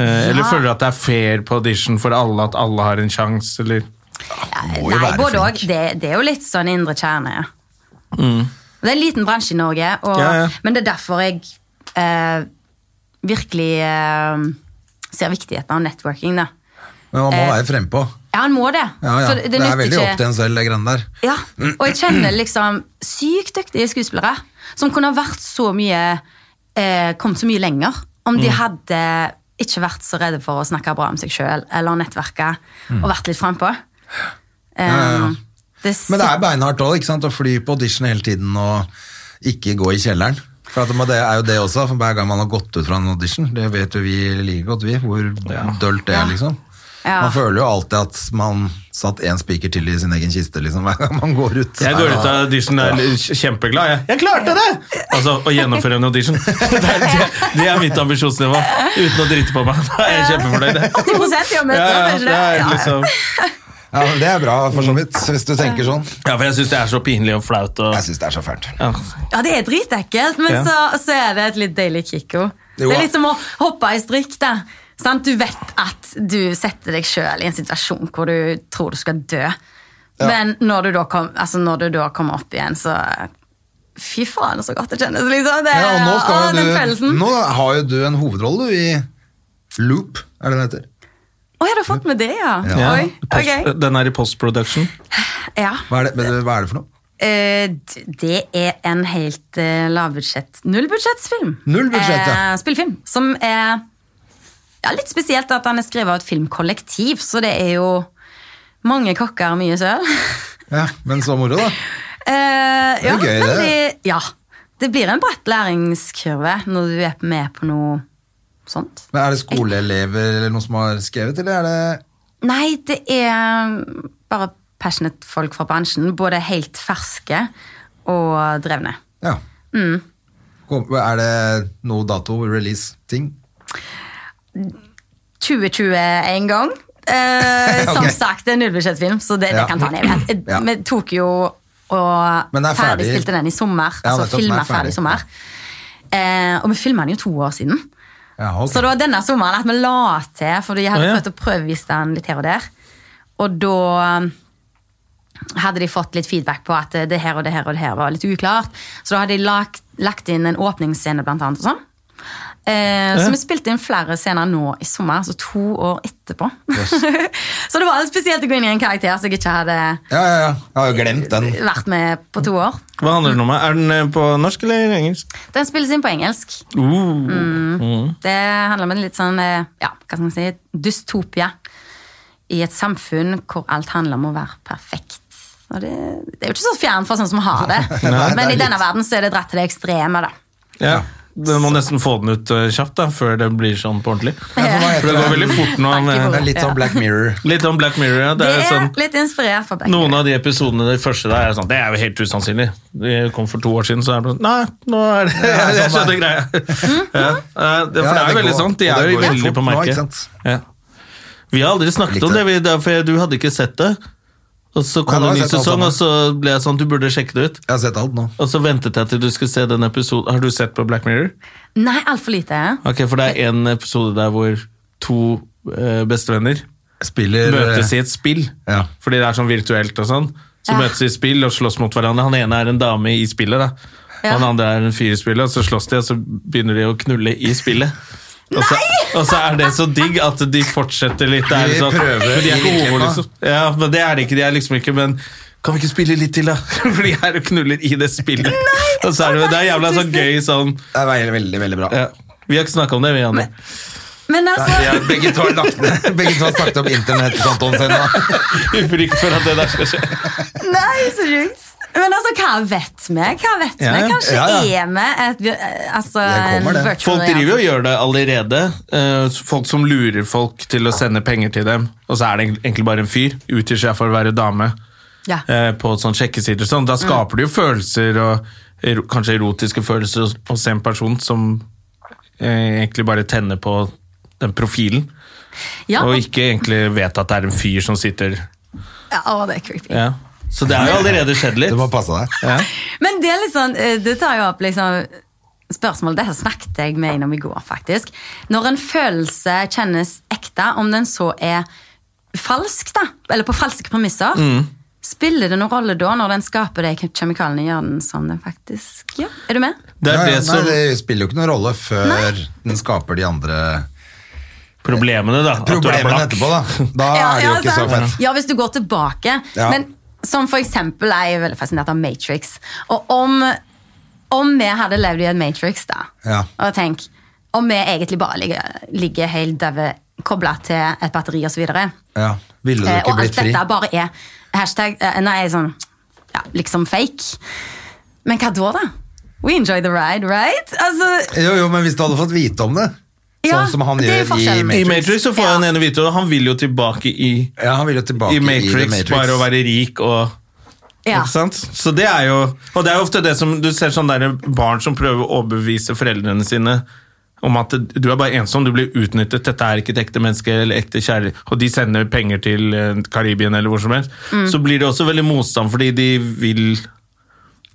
A: eh, Eller føler du at det er fair på audition for alle, at alle har en sjanse, eller
B: Må jo
E: Nei,
B: være
E: både
B: flink.
E: òg. Det, det er jo litt sånn indre kjerne. ja. Det er en liten bransje i Norge, og,
A: Mm. Ja, ja.
E: men det er derfor jeg eh, virkelig eh, ser viktigheten av networking. Da.
B: Men man må
E: Eh,
B: være frempå.
E: Ja, han må det.
B: Ja, ja.
E: For
B: Det, er
E: nytter
B: veldig
E: ikke-
B: opp til en selv, det greiene der.
E: ja, og jeg kjenner liksom sykt dyktige skuespillere som kunne ha vært så mye eh, kommet så mye lenger om
B: Mm.
E: de hadde ikke vært så redde for å snakke bra om seg sjøl eller nettverke og vært litt frampå. Um,
B: Mm. ja, ja.
E: det
B: Men det er
E: sit-
B: beinhardt òg, ikke sant? Å fly på audition hele tiden og ikke gå i kjelleren. For at det er jo det også, for hver gang man har gått ut fra en audition, det vet jo vi like godt, vi, hvor dølt det er, liksom.
E: Ja.
B: Man føler jo alltid at man satt én spiker til i sin egen kiste, liksom, hver gang man går ut.
A: Jeg går ut av audition og er kjempeglad. Jeg, jeg klarte det! Altså, Å gjennomføre en audition. Det er, det, det er mitt ambisjonsnivå. Uten å drite på meg. Da er jeg kjempefornøyd.
E: 80 i å møte
A: Ja, ja,
E: kanskje
A: det er
E: Ja, ja.
A: liksom,
B: Ja, men det er bra, for så vidt, hvis du tenker sånn.
A: ja, for jeg syns det er så pinlig og flaut. Og,
B: Jeg syns det er så fælt.
A: ja.
E: Ja, det er dritekkelt, men
A: Ja.
E: så, så er det et litt deilig kick òg. Det
B: Jo, ja.
E: er litt som å hoppe i strikk. da. Sant? Du vet at du setter deg sjøl i en situasjon hvor du tror du skal dø. Men når du, da kom, altså når du da kommer opp igjen, så Fy faen, så godt det kjennes, liksom. Det,
B: Ja, og nå,
E: å,
B: skal
E: den
B: jo du,
E: følelsen.
B: nå har jo du en hovedrolle du, i Loop, er det det heter?
E: Å, jeg hadde fått med det, ja.
B: Ja.
E: Oi,
A: Post,
E: ok.
A: Den er i postproduction.
E: Ja.
B: Hva er det, men, hva er det for noe?
E: Eh, d- det er en helt eh, lavbudsjett, nullbudsjettsfilm.
B: Nullbudsjett, ja.
E: Eh, spillefilm. Som er ja, litt spesielt at den er skrevet av et filmkollektiv, så det er jo mange kokker, mye søl.
B: ja. Men så moro, da.
E: Eh,
B: Det er gøy, det.
E: veldig- Ja. Det blir en bratt læringskurve når du er med på noe sånt.
B: Men er det skoleelever eller noen som har skrevet, eller er det
E: Nei, det er bare passionate folk fra bransjen. Både helt ferske og drevne.
B: Ja.
E: Mm.
B: Kom, er det noe dato, release-ting?
E: 2020 en gang. Eh,
B: Ok.
E: Som sagt, det er en nullbudsjettfilm, så det,
B: Ja.
E: det kan ta en evighet.
B: Ja.
E: Vi tok jo og
B: Men den er ferdig.
E: ferdigstilte den i sommer.
B: Ja,
E: altså
B: nettopp, den er
E: filmer ferdig
B: ferdig.
E: i sommer. Eh, og vi filma den jo to år siden.
B: Ja, ok.
E: Så det var denne sommeren at vi la til, for de
A: Å,
E: hadde
A: ja.
E: prøvd å prøvevise den litt her og der. Og da um, hadde de fått litt feedback på at det her og det her og det her var litt uklart. Så da hadde de lagt, lagt inn en åpningsscene blant annet og sånn. Eh, Så vi spilte inn flere scener nå i sommer, altså to år etterpå. så det var litt spesielt å gå inn i en karakter som jeg ikke hadde
B: Ja, ja, ja. Jeg har jo glemt den.
E: vært med på to år.
A: Hva handler den om? Er den eh, på norsk eller engelsk?
E: Den spilles inn på engelsk. Det handler om en litt sånn eh, ja, hva skal man si, dystopia i et samfunn hvor alt handler om å være perfekt. Og det, det er jo ikke så fjernt fra sånn som har det, men
B: det er
E: i denne
B: litt-
E: verden så er det dratt til det ekstreme. da.
A: Ja. Du må nesten få den ut eh, kjapt da, før det blir sånn på ordentlig.
B: Ja, for hva
A: For
B: heter
A: det går
B: den?
A: veldig fort nå.
E: Takk i
A: eh,
B: Det er litt sånn Black Mirror.
A: Litt om Black Mirror. Ja.
E: Det
A: Det er jo sånn,
E: er litt inspirert fra Beck.
A: noen av de episodene de første der er sånn Det er jo helt usannsynlig. De kom for to år siden, så er det sånn Nei, nå er det
B: Ja,
A: Jeg
B: sånn
A: skjønner
B: er
A: greia. Ja, eh, det-
B: Ja,
A: For det er jo
B: det
A: veldig
B: går-
A: sånn. De
B: og
A: er
B: det
A: jo
B: går jo
A: veldig
B: fort
A: på
B: nå, ikke
A: merket.
B: sant? sånn.
A: Ja. Vi har aldri snakket om det, vi- det er fordi du hadde ikke sett det. Og så
B: Nei,
A: kom
B: nå
A: det en
B: har
A: ny
B: jeg sett alt
A: sesong, og
B: sammen.
A: så ble jeg sånn Du burde sjekke det ut.
B: Jeg har sett alt nå.
A: Og så ventet jeg til du skulle se den episoden. Har du sett på Black Mirror?
E: Nei, altfor lite.
A: Ok, For det er en episode der hvor to eh, bestevenner
B: Spiller eh,
A: møtes i et spill.
B: Ja.
A: Fordi det er sånn virtuelt og sånn. Så
E: Ja.
A: møtes de i spill og slåss mot hverandre. Han ene er en dame i spillet, da. Og
E: Ja.
A: han andre er en fyr i spillet, og så slåss de, og så begynner de å knulle i spillet. Og så, og så er det så digg at de fortsetter litt. Det er
B: De
A: litt sånn,
B: prøver
A: men de er ikke
B: i
A: homo,
B: klippa.
A: liksom. Ja, men det er de ikke. De er liksom ikke Men kan vi ikke spille litt til, da? For de er og knuller i det spillet. og så er det, det er jævla sånn gøy sånn
B: Det er veldig, veldig, veldig bra.
A: ja. Vi har ikke snakka om det, vi andre.
E: Men
B: Ja,
E: altså,
B: begge to har lagt ned Begge to har snakket om internettkontoen sin. da.
A: I frykt for at det der skal skje.
E: nei, så sjukt. Men altså, hva vet vi? Hva vet vi?
A: Ja, ja.
E: Kanskje
B: Ja, ja.
E: er vi et, vi- eh, altså,
B: Det kommer, det.
E: en virtual
A: Folk driver jo og
E: reality.
A: gjør det allerede. Eh, Folk som lurer folk til å sende penger til dem, og så er det egentlig bare en fyr. Utgir seg for å være dame
E: Ja.
A: eh, på sånn sjekkesider. og Sånn. Da skaper det jo følelser, og ero- kanskje erotiske følelser, hos- hos en person som eh, egentlig bare tenner på den profilen,
E: Ja,
A: og ikke egentlig vet at det er en fyr som sitter
E: ja, å, det er creepy.
A: ja. Så det er jo allerede skjedd litt.
B: Du må passe deg.
A: Ja.
E: Men det er litt sånn, eh, det tar jo opp liksom spørsmålet, det her snakket jeg med innom i går faktisk. Når en følelse kjennes ekte, om den så er falsk da, eller på falske premisser, spiller det noen rolle da når den skaper de kjemikalene i hjernen som den faktisk gjør? Er du med?
A: Det
B: Ja, ja,
A: er det som
B: Nei, det spiller jo ikke noen rolle før den skaper de andre
A: Problemene, da. At du er
B: problemene
A: blakk.
B: etterpå. Da Da er det jo ikke så
E: sant.
B: fett.
E: Ja, hvis du går tilbake.
B: Ja.
E: Men som for eksempel er jeg veldig fascinert av Matrix. Og om, om vi hadde levd i en Matrix, da,
B: Ja.
E: og tenk om vi egentlig bare ligger, ligger helt døve kobla til et batteri osv.
B: Ja. Ville du
E: Eh, Og
B: ikke
E: alt
B: blitt fri?
E: dette bare er hashtag eh, Nei, sånn ja, liksom fake. Men hva da, da? We enjoy the ride, right? Altså,
B: Jo, jo, men hvis du hadde fått vite om det,
E: Ja,
B: sånn som han
E: det er
B: gjør
E: jo
B: i
E: forskjellen.
A: I
B: Matrix
A: Matrix så får
E: Ja.
A: han ene vite det, og han vil jo tilbake i
B: ja, han vil jo tilbake
A: i Matrix,
B: i The Matrix.
A: bare å være rik og
E: ja.
A: Ikke sant? Så det er jo Og det er jo ofte det som du ser sånne der barn som prøver å overbevise foreldrene sine om at du er bare ensom, du blir utnyttet, dette er ikke et ekte menneske eller ekte kjærlighet, og de sender penger til eh, Karibien eller hvor som helst,
E: Mm.
A: så blir det også veldig motstand fordi de vil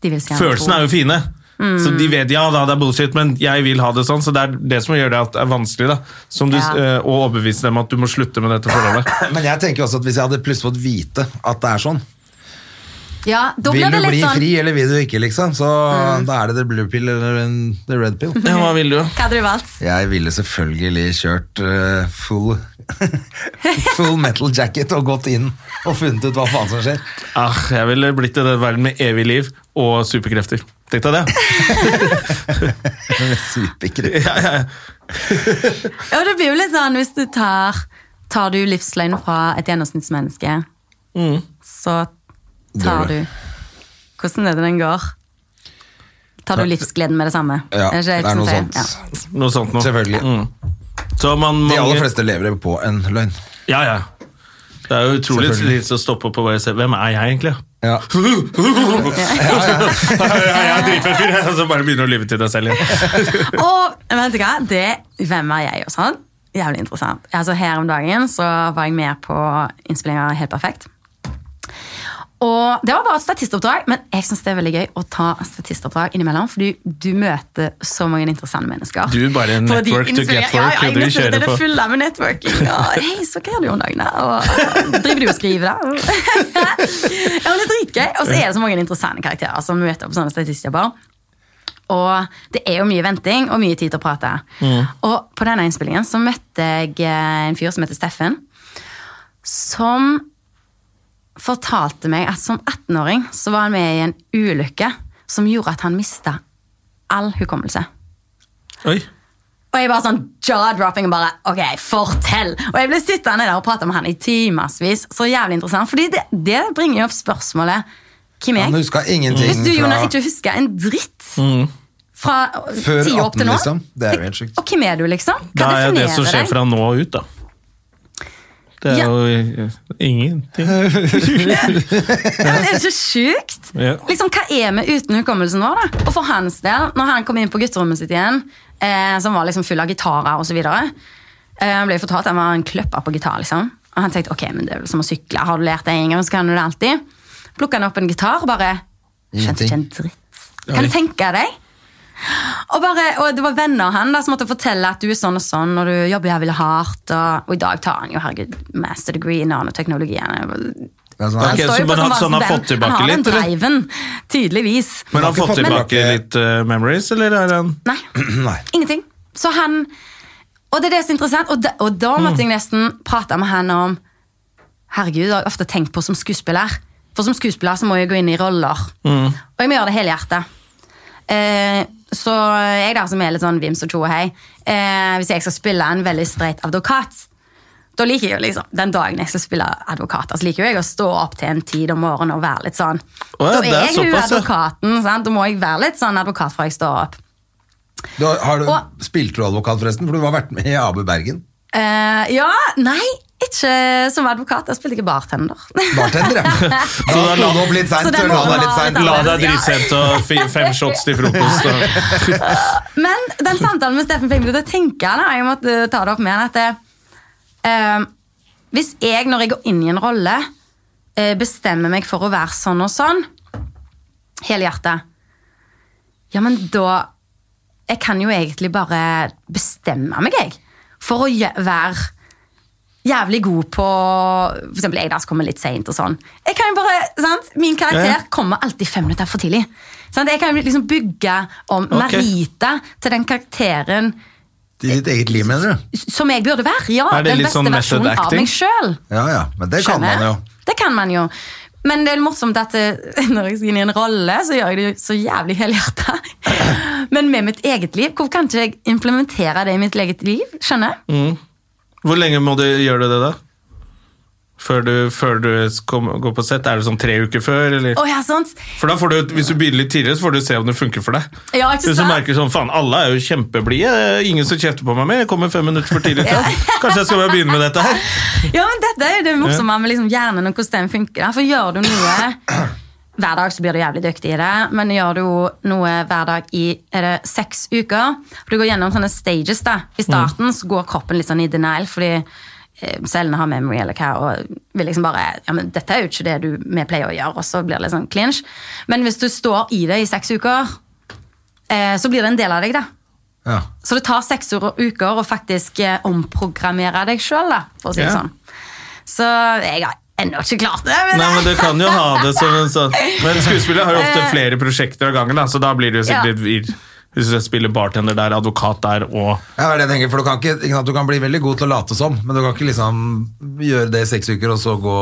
E: De vil se han
A: Følelsene er jo fine. Så
E: Mm.
A: de vet ja da, det er bullshit, men jeg vil ha det sånn. Så det er det som gjør det at det er vanskelig da som du,
E: Ja.
A: eh, å overbevise dem at du må slutte med dette forholdet.
B: Men jeg tenker også at hvis jeg hadde plutselig fått vite at det er sånn,
E: Ja, da
B: Vil
E: blir
B: du
E: det
B: bli
E: litt sånn Mm.
B: fri, eller vil du ikke, liksom? Så da er det the blue pill eller en- the red pill.
A: Ja, hva vil du?
E: Hva hadde du valgt?
B: Jeg ville selvfølgelig kjørt eh, full, full metal jacket og gått inn og funnet ut hva faen som skjer.
A: Ah, jeg ville blitt i den verden med evig liv og superkrefter. Tenk deg det.
B: Superkrefter.
A: Ja, ja, ja.
E: Ja, det blir jo litt sånn hvis du tar Tar du livsløgn fra et gjennomsnittsmenneske,
B: Mm.
E: så
B: Dør
E: tar
B: du.
E: du Hvordan er det den går? Tar du livsgleden med det samme?
B: Ja,
E: Er
B: det
E: ikke
B: er
E: som
B: noe
E: sier?
B: sånt.
E: Ja.
A: Noe sånt noe.
B: Selvfølgelig.
A: Så man,
B: De aller
A: mange-
B: fleste lever på en løgn.
A: Ja, ja. Det er jo utrolig
B: Selvfølgelig.
A: trist å stoppe opp og bare se Hvem er jeg, egentlig?
B: Ja.
A: jeg er dritfett fyr, og så bare begynner du å lyve til deg selv igjen.
E: Og vet du hva? Det, hvem er jeg og sånn? Jævlig interessant. Altså Her om dagen så var jeg med på innspillinga Helt perfekt. Og Det var bare et statistoppdrag, men jeg syns det er veldig gøy å ta statistoppdrag innimellom. Fordi du møter så mange interessante mennesker.
A: Du er bare en
E: For de
A: network to
E: inspirerer-
A: get work,
E: Ja, ja,
A: og
E: jeg
A: du
E: vet det,
A: kjører
E: det er
A: på.
E: det fulle med networking. Ja, hei, så hva gjør du om dagen, da? Og, og, driver du og skriver, da? ja, men det er dritgøy. Og så er det så mange interessante karakterer som møter på sånne statistjobber. Og det er jo mye venting og mye tid til å prate.
B: Mm.
E: Og på denne innspillingen så møtte jeg eh, en fyr som heter Steffen, som fortalte meg at som 18-åring så var han med i en ulykke som gjorde at han mista all hukommelse.
A: Oi.
E: Og jeg bare sånn jaw-dropping og bare Ok, fortell! Og jeg ble sittende der og prate med han i timevis. Så jævlig interessant. Fordi det, det bringer jo opp spørsmålet Hvem er
B: Han
E: jeg?
B: huska ingenting
E: Hvis du, Jonas,
B: fra
E: ikke husker en dritt
A: Mm.
E: fra
B: før
E: ti
B: 18,
E: opp til nå
B: liksom. Det er jo helt sjukt.
E: Og hvem er du, liksom?
A: Det
E: Hva
A: er jo det som
E: definerer
A: skjer
E: deg?
A: fra nå og ut, da. Det er
E: Ja.
A: jo eh, ingenting.
E: Ja, men er det ikke sjukt?
A: Ja.
E: Liksom, hva er vi uten hukommelsen vår, da? Og for hans del, når han kom inn på gutterommet sitt igjen, eh, som var liksom full av gitarer osv. Eh, han ble jo fortalt at han var en kløpper på gitar. liksom. Og han tenkte ok, men det er vel som å sykle. Har du lært det en gang, så kan du det alltid. Plukka han opp en gitar og bare Skjønte ikke en dritt. Kan du tenke deg? Og, bare, og det var venner av han da, som måtte fortelle at du er sånn og sånn, og du jobber jævlig hardt. Og, og i dag tar han jo herregud, master degree i nanoteknologi. Han er-
B: Det er sånn,
A: Ok,
B: nei,
E: står
A: så
E: jo på
A: men
E: som
A: han- så han har
E: vasen,
A: fått
E: den-
A: tilbake
E: Han har den
A: litt, eller?
E: driven, tydeligvis.
A: Men har han
B: har ikke
A: fått
B: fått
A: tilbake
B: tilbake-
A: litt eh, memories, eller er han
E: Nei,
B: Nei.
E: ingenting. Så han Og det er det som er interessant, og, da- og
A: Mm.
E: da måtte jeg nesten prate med han om Herregud, det har jeg ofte tenkt på som skuespiller. For som skuespiller så må jeg gå inn i roller.
A: Mm.
E: Og jeg må gjøre det helhjertet. Eh, så jeg der som er litt sånn vims og tjo og hei, eh, hvis jeg skal spille en veldig streit advokat, da liker jeg jo liksom, den dagen jeg skal spille advokat, altså liker jo jeg å stå opp til en tid om morgenen og være litt sånn.
A: Å ja,
E: da
A: det er
E: er jeg jo
A: såpass, ja.
E: advokaten, sant? Da må jeg være litt sånn advokat fra jeg står opp.
B: Du, har- har du,
E: Og-
B: spilte du advokat, forresten? For du har vært med i AB Bergen.
E: Eh, ja, nei, ikke som advokat. Jeg spilte ikke bartender.
B: Bartender, ja. Da sto du opp litt
E: Så
B: seint, så
E: den
B: la
E: morgenen
B: deg litt
E: var
B: seint.
E: litt
A: La deg
E: Ja.
A: dritsent og fi- fem shots til frokost. Og...
E: Men den samtalen med Steffen fikk meg til å tenke da, jeg måtte ta det opp med han, at eh, hvis jeg, når jeg går inn i en rolle, eh, bestemmer meg for å være sånn og sånn, hele hjertet, ja, men da Jeg kan jo egentlig bare bestemme meg, jeg, for å gjø- være jævlig god på For eksempel jeg der som kommer litt seint og sånn. Jeg kan jo bare, sant? Min karakter
A: Ja, ja.
E: kommer alltid fem minutter for tidlig. Sant? Jeg kan jo liksom bygge om
A: Ok.
E: Marita til den karakteren
B: I ditt eget liv, mener du?
E: som jeg burde være. Ja,
A: Er det
E: den
A: litt
E: beste
A: sånn method
E: versjonen av
A: acting?
E: meg sjøl.
B: Ja ja, men det kan man jo.
E: Det kan man jo. Men det er morsomt at eh, når jeg skal inn i en rolle, så gjør jeg det jo så jævlig helhjerta. Men med mitt eget liv, hvor kan ikke jeg implementere det i mitt eget liv? Skjønner?
A: Mm.
E: jeg?
A: Hvor lenge må du gjøre det, da? Før du, før du kom, går på sett? Er det sånn tre uker før? Eller?
E: Å, ja, sant?
A: For da får du, Hvis du begynner litt tidligere, så får du se om det funker for deg.
E: Ja, ikke
A: Hvis du
E: sant?
A: merker sånn, faen, alle er jo kjempeblide, eh, ingen som kjefter på meg mer, jeg kommer fem minutter for tidlig. til. Kanskje jeg skal bare begynne med dette her?
E: Ja, men dette er jo det morsomme med liksom hjernen og hvordan den funker. da. For gjør du noe hver dag, så blir du jævlig dyktig i det. Men gjør du noe hver dag i er det seks uker Du går gjennom sånne stages. da. I starten så går kroppen litt sånn i denial fordi eh, cellene har memory eller hva, og vil liksom bare ja, men 'Dette er jo ikke det du, vi pleier å gjøre', og så blir det litt sånn clinch. Men hvis du står i det i seks uker, eh, så blir det en del av deg, da.
B: Ja.
E: Så det tar seks år- uker å faktisk eh, omprogrammere deg sjøl, for å si det
A: Ja.
E: sånn. Så jeg har ennå ikke klart det. Men
A: Nei, men Du kan jo ha det som en sånn Men skuespillere har jo ofte flere prosjekter av gangen, da, så da blir det jo
E: Ja.
A: sikkert litt vir. Hvis du spiller bartender der, advokat der og
B: Ja, det er det jeg tenker, for du kan, ikke, ikke sant, du kan bli veldig god til å late som, men du kan ikke liksom gjøre det i seks uker og så gå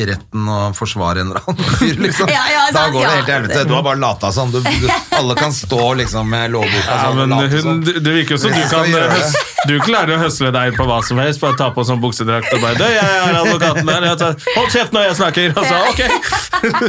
B: i retten og forsvare en eller annen fyr. Liksom.
E: Ja, ja,
B: da
E: sant,
B: går det
E: ja.
B: helt til helvete. Du har bare lata som. Du, du, alle kan stå liksom med lovboka
A: ja,
B: sånn, og
A: men
B: late
A: hun,
B: som.
A: Det virker jo som du
B: Hvis jeg
A: kan eh,
B: skal gjøre det.
A: høs- Du klarer å høsle deg på hva som helst. Bare ta på sånn buksedrakt og bare «Du, 'Jeg er advokaten der.' Jeg tar, 'Hold kjeft når jeg snakker!' Og så ok!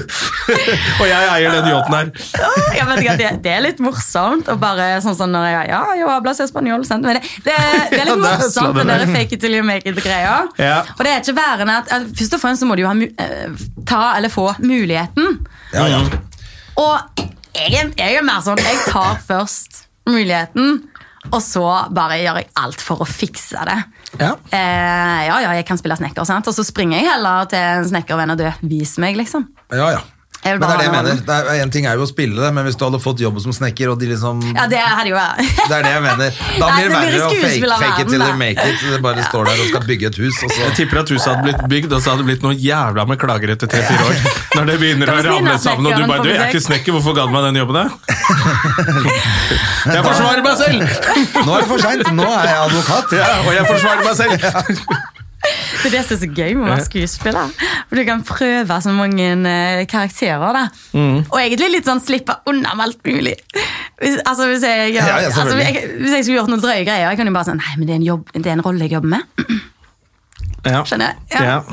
A: og jeg eier den yachten her.
E: Åh, jeg vet ikke, det, det er litt morsomt. Og bare sånn som når jeg Ja, jo, hablas espanol, sant? Men det, det, det
A: Ja, det er
E: er litt
A: sånn
E: morsomt,
A: det
E: den
A: er.
E: der fake it till you make it-greia.
A: Ja.
E: Og det er ikke værende at eh, Først og fremst så må du jo ha, mu- eh, ta eller få muligheten.
B: Ja, ja.
A: Mm.
E: Og jeg, er- jeg er mer sånn Jeg tar først muligheten, og så bare gjør jeg alt for å fikse det.
B: Ja.
E: Eh, ja, ja, jeg kan spille snekker, sant? og så springer jeg heller til en snekkervenn og du, vis meg, liksom.
B: Ja, ja.
E: Jeg
B: Men
E: vil
B: det
E: bare
B: er det jeg
E: ha den
B: mener. Det er, en ting er jo å spille det, men hvis du hadde fått jobb som snekker, og de liksom
E: Ja, det hadde jo
B: Det er det jeg mener. Da
E: Nei,
B: blir det
E: det blir
B: verre å fake,
E: skuespillerverden,
B: fake it till
E: da.
B: you make it. Det bare står der og skal bygge et hus, og så
A: Jeg tipper at huset hadde blitt bygd, og så hadde det blitt noe jævla med klager etter tre-fire år. Når det begynner å
E: Kan vi si
A: ramle sammen, og du
E: nattsnekkeren
A: bare
E: på
A: 'Du, jeg er ikke snekker, hvorfor ga du meg den jobben, da?' Jeg forsvarer meg selv!
B: Nå er det for seint! Nå er jeg advokat.
A: Ja, og jeg forsvarer meg selv!
E: Det er det som er så gøy med å
B: Eh.
E: være skuespiller. For du kan prøve så mange eh, karakterer. Da.
B: Mm.
E: Og egentlig litt sånn slippe unna med alt mulig. Hvis, altså, hvis, jeg,
B: Ja, ja,
E: altså,
B: selvfølgelig.
E: jeg, hvis jeg skulle gjort noen drøye greier, jeg kan jo bare sånn Nei, men det er en, jobb, det er en rolle jeg jobber med.
A: Ja.
E: Skjønner jeg?
A: Ja.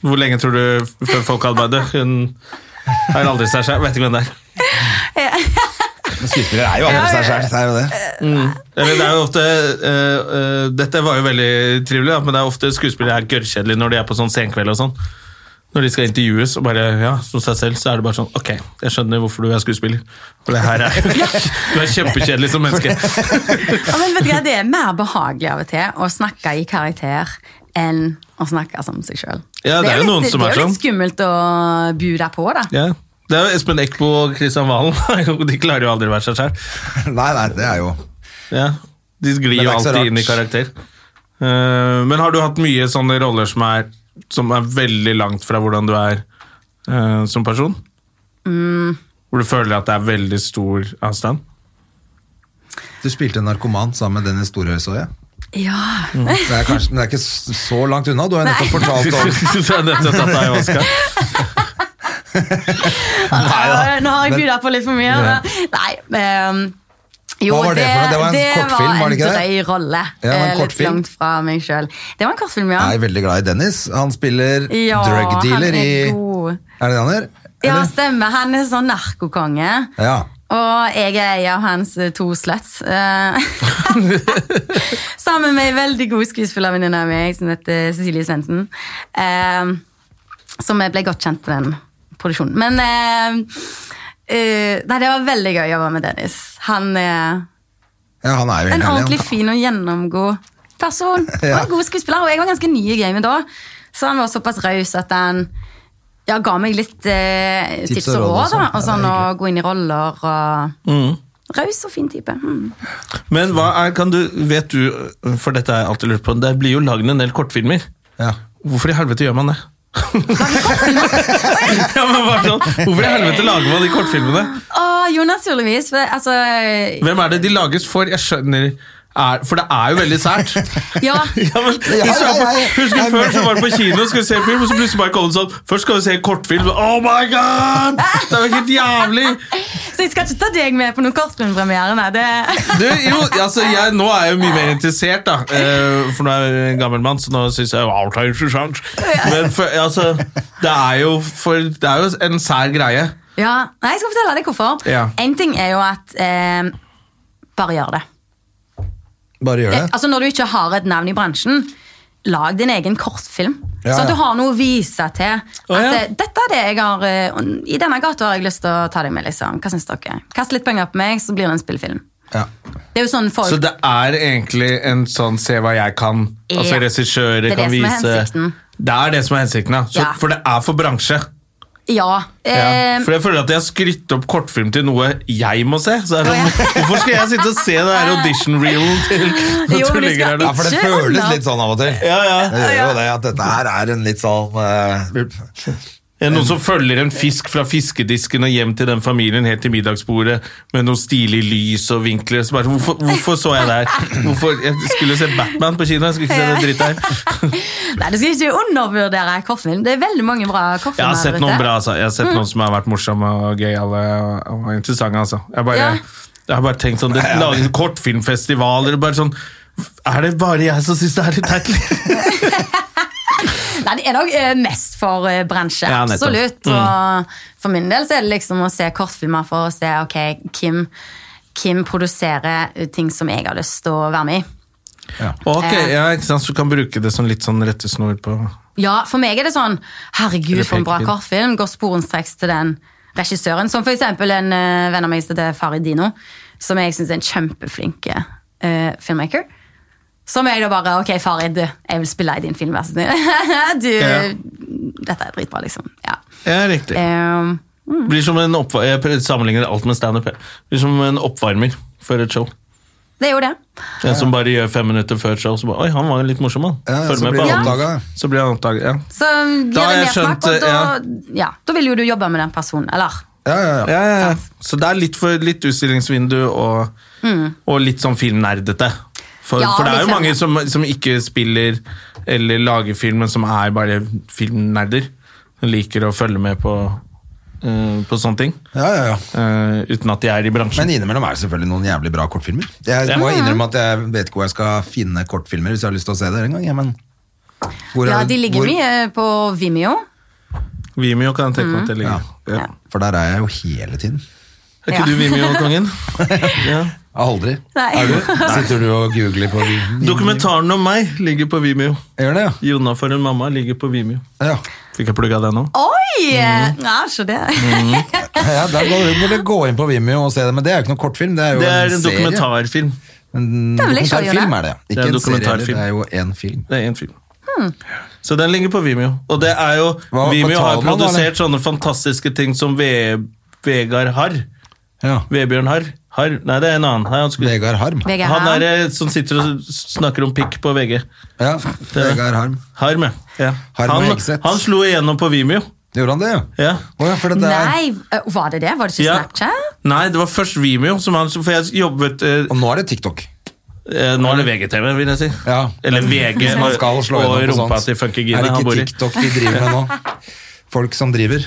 A: Hvor lenge tror du f- før folk hadde bare «Du, Hun har aldri seg selv, vet ikke hvem det er.
B: Men skuespillere er jo alle seg sjæl, det er jo det.
A: Eller det er jo ofte eh, eh, Dette var jo veldig trivelig, da, men det er ofte skuespillere er gørrkjedelige når de er på sånn senkveld og sånn. Når de skal intervjues og bare ja, som seg selv, så er det bare sånn Ok, jeg skjønner hvorfor du er skuespiller. For det her er Du er kjempekjedelig som menneske.
E: Ja, men vet du hva, Det er mer behagelig av og til å snakke i karakter enn å snakke som seg sjøl.
A: Ja, det er jo noen som er
E: Det er jo
A: sånn.
E: litt skummelt å bu deg på, da.
A: Ja. Det er jo Espen Eckbo og Kristian Valen. De klarer jo aldri å være seg selv.
B: Nei, nei, det er jo
A: Ja.
B: Men
A: De
B: det
A: glir
B: er
A: jo
B: ikke så rart.
A: alltid inn i karakter. Eh, men har du hatt mye sånne roller som er, som er veldig langt fra hvordan du er eh, som person? Hvor du føler at det er veldig stor avstand?
B: Du spilte en narkoman sammen med Dennis Storhøy, så jeg.
E: Ja,
B: Det er, kanskje, men det er ikke s- så langt unna. Du har jo nettopp fortalt om
A: Så er dette tatt av ayahuasca.
E: Nei, Nå har jeg
B: Men-
E: budet på litt for mye. men- Nei, ehm, jo,
B: Hva var det for noe? Det var en kortfilm, var det ikke det?
E: en drøy rolle.
B: det var en
E: eh, litt
B: kortfilm.
E: langt fra meg selv. Det var en kortfilm, ja.
B: Jeg er veldig glad i Dennis. Han spiller
E: ja
B: drug dealer
E: han
B: i
E: er
B: Er
E: god.
B: det det han gjør?
E: Ja,
B: Eller?
E: stemmer. Han er sånn narkokonge.
B: Ja.
E: Og jeg er en av hans eh, to sluts. eh. Sammen med en veldig god skuespillervenninne av meg som heter Cecilie Svendsen. eh, Som jeg ble godt kjent på den produksjonen. Men eh, eh, Nei, det var veldig gøy å jobbe med Dennis. Han er
B: ja, han er jo helt
E: en
B: herlig.
E: ordentlig
B: han.
E: fin og gjennomgod person. Og
B: Ja.
E: en god skuespiller. Og jeg var ganske ny i gamet da, så han var såpass raus at han ja, ga meg litt eh, tips, og råd. Da,
B: sånn. Ja,
E: og sånn
B: det
E: Å
B: er
E: gå inn i roller og Raus og fin type. Mm.
A: Men hva er, kan du, vet du, for dette har jeg alltid lurt på, det blir jo lagd en del kortfilmer.
B: Ja.
A: Hvorfor i helvete gjør man det? ja, men bare sånn, hvorfor i helvete lager man de kortfilmene?
E: Å, jo, naturligvis. For, altså,
A: Hvem er det de lages for? Jeg skjønner er, For det er jo veldig sært.
E: ja.
A: Ja, men,
B: ja,
A: de sa på-
B: ja, ja.
A: Husker du før så var det på kino og skulle se film, og så plutselig bare kom det sånn Først skal vi se en kortfilm. Oh my god! Det er jo helt jævlig!
E: Så jeg skal ikke ta deg med på noen kortfilmpremiere, nei. Det...
A: Du, jo, altså, jeg, nå er jeg jo mye mer interessert, da. eh, For nå er jeg en gammel mann, så nå syns jeg wow, det er interessant. Men for, altså, det er jo for Det er jo en sær greie.
E: Ja, nei, Jeg skal fortelle deg hvorfor.
A: Ja.
E: En ting er jo at eh, Bare gjør det.
B: Bare gjør
E: Eh,
B: det.
E: Altså Når du ikke har et navn i bransjen, lag din egen kortfilm.
B: Ja,
E: Sånn at
B: ja.
E: du har noe å vise til. At
A: Å, ja.
E: eh, dette er det jeg har eh, og I denne gata har jeg lyst til å ta deg med. liksom Hva syns dere? Kast litt penger på meg, så blir det en spillefilm.
B: Ja.
E: Det er jo sånn folk
A: Så det er egentlig en sånn se hva jeg kan. Altså
E: Ja.
A: regissører
E: Det er det
A: kan
E: som er
A: vise
E: hensikten.
A: Det er det som er hensikten. Ja. Så,
E: Ja.
A: For det er for bransje.
E: Ja.
A: Ja,
E: Eh,
A: for jeg føler at jeg har skrytt opp kortfilm til noe jeg må se. Så er det sånn, hvorfor skal jeg sitte og se det her audition-reelen til
E: Jo, men vi
A: tullinger
E: skal-
A: her?
B: Ja, for det
E: Ikke
B: føles
E: unna.
B: litt sånn av og til.
A: Ja, ja.
B: Det gjør jo det at dette her er en litt sånn eh,
A: Er det Noen som følger en fisk fra fiskedisken og hjem til den familien helt til middagsbordet med noe stilig lys og vinkler. Så bare, hvorfor, hvorfor så jeg det her? Hvorfor, jeg skulle se Batman på kino, jeg skulle ikke se det dritt her.
E: Nei, du skal ikke undervurdere kortfilm. Det er veldig mange bra kortfilmer.
A: Jeg har sett
E: der
A: noen
E: ute.
A: bra, altså. Jeg har sett noen som har vært morsomme og gøyale og, og interessante, altså. Jeg, bare,
E: Ja.
A: jeg har bare tenkt sånn, det lages kortfilmfestivaler og bare sånn Er det bare jeg som syns det er litt teit?
E: Nei, det er nok eh, mest for eh, bransje,
A: Ja, nettopp. Mm.
E: absolutt. Og for min del så er det liksom å se kortfilmer for å se ok, hvem, hvem produserer eh, ting som jeg har lyst til å være med i.
A: Ok, ja, ikke sant? Så du kan bruke det som litt sånn rettesnor på
E: Ja, for meg er det sånn Herregud, for en bra
A: Repeat.
E: kortfilm. Går sporenstreks til den regissøren. Som for eksempel en eh, venn av meg som heter Fari Dino, som jeg syns er en kjempeflink eh, filmmaker. Som jeg da bare Ok, Fari, du, jeg vil spille i din film, vær så snill. du,
A: Ja.
E: dette er dritbra, liksom. Ja.
A: Ja, riktig.
E: Ehm,
A: Blir som en oppvar- jeg prøver- sammenligner alt med standup. jeg. Blir som en oppvarmer før et show.
E: det er jo det.
A: En som bare gjør fem minutter før et show, så bare Oi, han var jo litt morsom, han.
B: ja,
A: Følg
B: Så
A: med
B: blir
A: på
B: det
A: han.
B: oppdaga.
A: Så blir han oppdaget. Ja.
E: Så gir
A: Da har
E: det
A: jeg
E: mersmak,
A: skjønt,
E: og da, ja, da vil jo du jobbe med den personen. Eller?
B: Ja, ja, ja.
A: Ja, ja, ja. Så det er litt, for, litt utstillingsvindu og, og litt sånn filmnerdete. For,
E: Ja,
A: for det er
E: litt
A: jo mange
E: filmnerd.
A: som, som ikke spiller eller lager film, men som er bare filmnerder. Som liker å følge med på, eh, på sånne ting.
B: ja, ja, ja.
A: eh, uten at de er i bransjen.
B: Men innimellom er det selvfølgelig noen jævlig bra kortfilmer. Jeg må innrømme at jeg vet ikke hvor jeg skal finne kortfilmer hvis jeg har lyst til å se det en gang. Ja, men hvor
E: Ja,
B: er-
E: de ligger
B: hvor-
E: mye på Vimeo.
A: Vimeo kan jeg tenke
E: Mm.
A: meg at det
B: Ja.
A: ligger. Ja.
B: For der er jeg jo hele tiden.
A: Er ikke
E: Ja.
A: du Vimeo-kongen? ja.
B: Aldri.
E: Nei.
B: Er du? Sitter du og googler på
A: Dokumentaren om meg ligger på Vimeo.
B: Gjør det, ja.
A: 'Jonna for en mamma' ligger på Vimeo.
B: Ja,
A: Fikk jeg plugga det nå?
E: Oi!
A: Mhm.
E: Ja, så det.
B: ja der går du burde gå inn på Vimeo og se det, men det er jo ikke noe kortfilm. Det er jo
A: Det er
B: en
A: en
B: serie.
A: dokumentarfilm.
B: En
E: Det er vel ikke
B: dokumentarfilm
E: Jonas?
B: er det. ja.
A: Det er
B: Ikke
A: en
B: en serie, heller,
A: dokumentarfilm.
B: det er jo en film.
A: Det er en film. Så den ligger på Vimeo. Og det er jo
B: Hva
A: Vimeo har
B: betaler man, eller?
A: produsert sånne fantastiske ting som Ve Vegard Harr.
B: Ja.
A: Vebjørn Harr. Harr. Nei, det er en annen. Nei, han, skulle,
B: Vegard Harm.
E: VG
A: han
E: her.
A: er eh, som sitter og snakker om pikk på VG.
B: Ja, Vegard Harm.
A: Harm, ja. ja.
B: Harm
A: Han,
B: Hegseth.
A: han slo igjennom på Vimeo.
B: Gjorde han det, ja?
A: Ja.
B: Å ja, for det der.
E: Nei, eh, var det det? Var det ikke
A: Ja.
E: Snapchat?
A: Nei, det var først Vimeo, som han, for jeg jobbet eh,
B: Og nå er det TikTok.
A: eh, Nå er det VGTV, vil jeg si.
B: Ja.
A: Eller VG
B: Man
A: og,
B: skal slå
A: og
B: gjennom på
A: rumpa
B: sånt.
A: til
B: Er
A: funkygine
B: det
A: han bor
B: ikke
A: i.
B: TikTok de driver med nå? Folk som driver.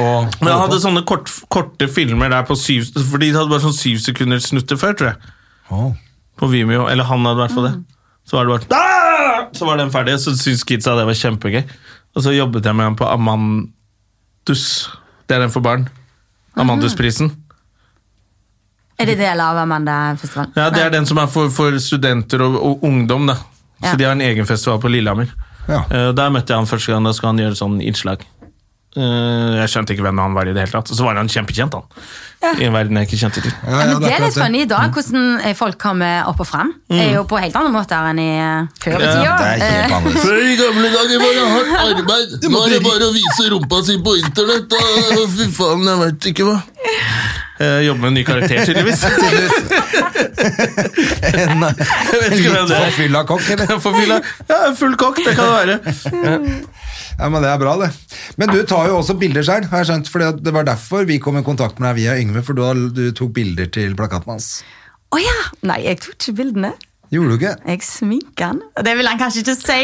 B: Og
A: Men jeg hadde sånne kort, korte filmer der på syv For de hadde bare sånn syv sekunder snutter før, tror jeg.
B: Å,
A: På Vimeo. Eller han hadde i hvert fall det. Så var det bare «Ah!» Så var den ferdig, så syntes kidsa det var kjempegøy. Og så jobbet jeg med han på Amandus. Det er den for barn. Amandusprisen.
E: Er det del av Amanda-festivalen?
A: Ja, det er den som er for, for studenter og, og ungdom, da.
E: Ja.
A: Så de har en egen festival på Lillehammer.
B: Ja.
A: Eh, Der møtte jeg han første gang, da skal han gjøre sånn innslag. Eh, Jeg skjønte ikke hvem han var i det hele tatt. Og så var han kjempekjent, han. I en verden jeg ikke kjente til.
B: Ja,
E: Ja,
B: ja,
E: men det er
B: akkurat Mm.
E: litt funny i dag, hvordan eh, folk kommer opp og frem. Er jo på helt andre måter enn i eh, før i
B: Det er
E: tida.
B: helt annerledes.
A: Før i gamle dager var det hardt arbeid. Nå er det bare å vise rumpa si på internett. og Fy faen, jeg veit ikke hva. Jeg jobber Eh, med en ny karakter, tydeligvis.
B: En
A: Jeg vet ikke hvem
B: litt
A: det er.
B: forfylla kokk, eller?
A: Jeg får fylla. Ja, full kokk, det kan det være.
B: Ja, men Det er bra, det. Men du tar jo også bilder selv, har jeg skjønt. For det var derfor vi kom i kontakt med deg via Yngve, for du, har- du tok bilder til plakaten hans.
E: Eh, Å ja! Nei, jeg tok ikke bildene.
B: Gjorde du ikke?
E: Jeg sminket den. Det vil han kanskje ikke si.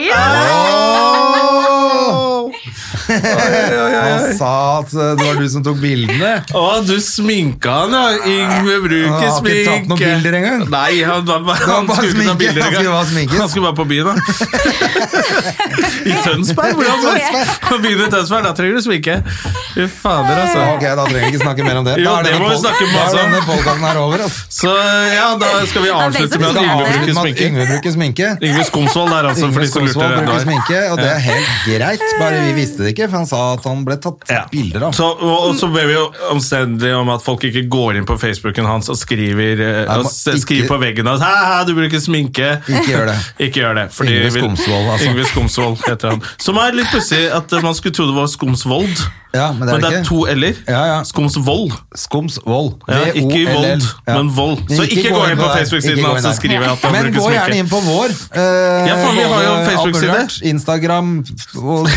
B: Han sa at eh, det var du som tok bildene.
A: Å, du sminka han, ja. Yngve
B: Han
A: bruker
B: har ikke
A: sminke.
B: tatt noen bilder engang.
A: Nei, han, han, han,
B: var bare
A: skulle ikke ta
B: sminke.
A: bilder
B: Han
A: engang.
B: skulle bare sminkes.
A: Han skulle bare på byen, da. I Tønsberg? Hvordan var På byen i Tønsberg, da trenger du sminke. Fy fader, altså.
B: Ok, Da trenger vi ikke snakke mer om det. Da
A: Jo,
B: er
A: det
B: denne
A: må vi
B: pod-
A: snakke
B: da
A: masse
B: er
A: om.
B: denne podcasten her over. Altså.
A: Så ja, da skal vi
B: Skal
A: avslutte med at Yngve
B: avslutte
A: bruker
B: med at
A: sminke.
B: Yngve bruker sminke.
A: Yngve Skomsvold der, altså, for
B: Yngve
A: de som lurte.
B: Skomsvold
A: det
B: bruker
A: der.
B: sminke, og det er helt greit. Bare vi visste det ikke, for han sa at han ble tatt
A: Ja.
B: bilder av.
A: Så, og, og så ber vi jo omstendelig om at folk ikke går inn på Facebooken hans og skriver, eh,
B: Nei,
A: og
B: må-
A: se- skriver
B: ikke-
A: på veggen at «Hæ, hæ, du bruker sminke.
B: Ikke gjør det.
A: Ikke gjør det. fordi
B: Yngve
A: vi-
B: Skomsvold, altså.
A: Yngve Skomsvold heter han. Som er litt pussig at eh, man skulle tro det var Skomsvold.
B: Ja, men det er
A: Men det
B: ikke.
A: er to eller.
B: Ja, ja.
A: Skumsvold.
B: Skums vold.
A: Ja, ikke i
B: V-O-L-L.
A: vold, men vold. Så ikke gå inn på
B: der.
A: Facebook-siden,
B: Ikke gå
A: altså,
B: inn der.
A: skriver jeg at han
B: Men
A: bruker
B: gå
A: smykke.
B: gjerne inn på vår. eh,
A: Ja, faen, vi har jo
B: både
A: Facebook-side.
B: Albert, Instagram og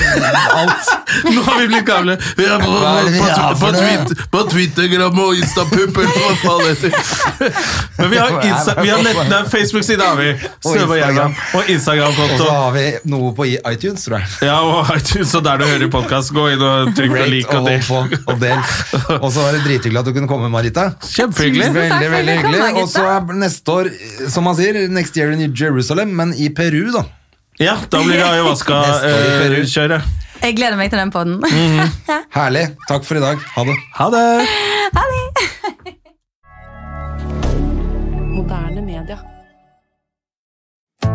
B: alt.
A: Nå har vi blitt gamle. Vi er på, på,
B: Hva er det vi
A: på,
B: er
A: på,
B: for noe?
A: tweet, på Twittergram og Instapupper og hva faen det heter. Men vi har, Insta, vi har nett, det er Facebook-side har vi. Snøve og Jægram. Og
B: Og så
A: Instagram-konto.
B: har vi noe på i- iTunes, tror jeg.
A: Ja, og iTunes, og der du hører podkast, gå inn og trykk på
B: Rate
A: lik
B: og
A: og
B: hold
A: del.
B: på og del. Og så var det drithyggelig at du kunne komme, Marita.
A: Kjempehyggelig.
E: Tusen takk
B: Veldig,
E: for at
B: veldig
E: jeg kom,
B: hyggelig.
E: da,
B: Og så er neste år, eh, som man sier, next year in Jerusalem, men i Peru, da.
A: Ja, da blir eh, det
B: Neste år i Peru.
A: ayahuasca-kjøret.
E: Jeg gleder meg til den podden.
B: Herlig. Takk for i dag. Ha det.
A: Ha det!
F: Moderne media.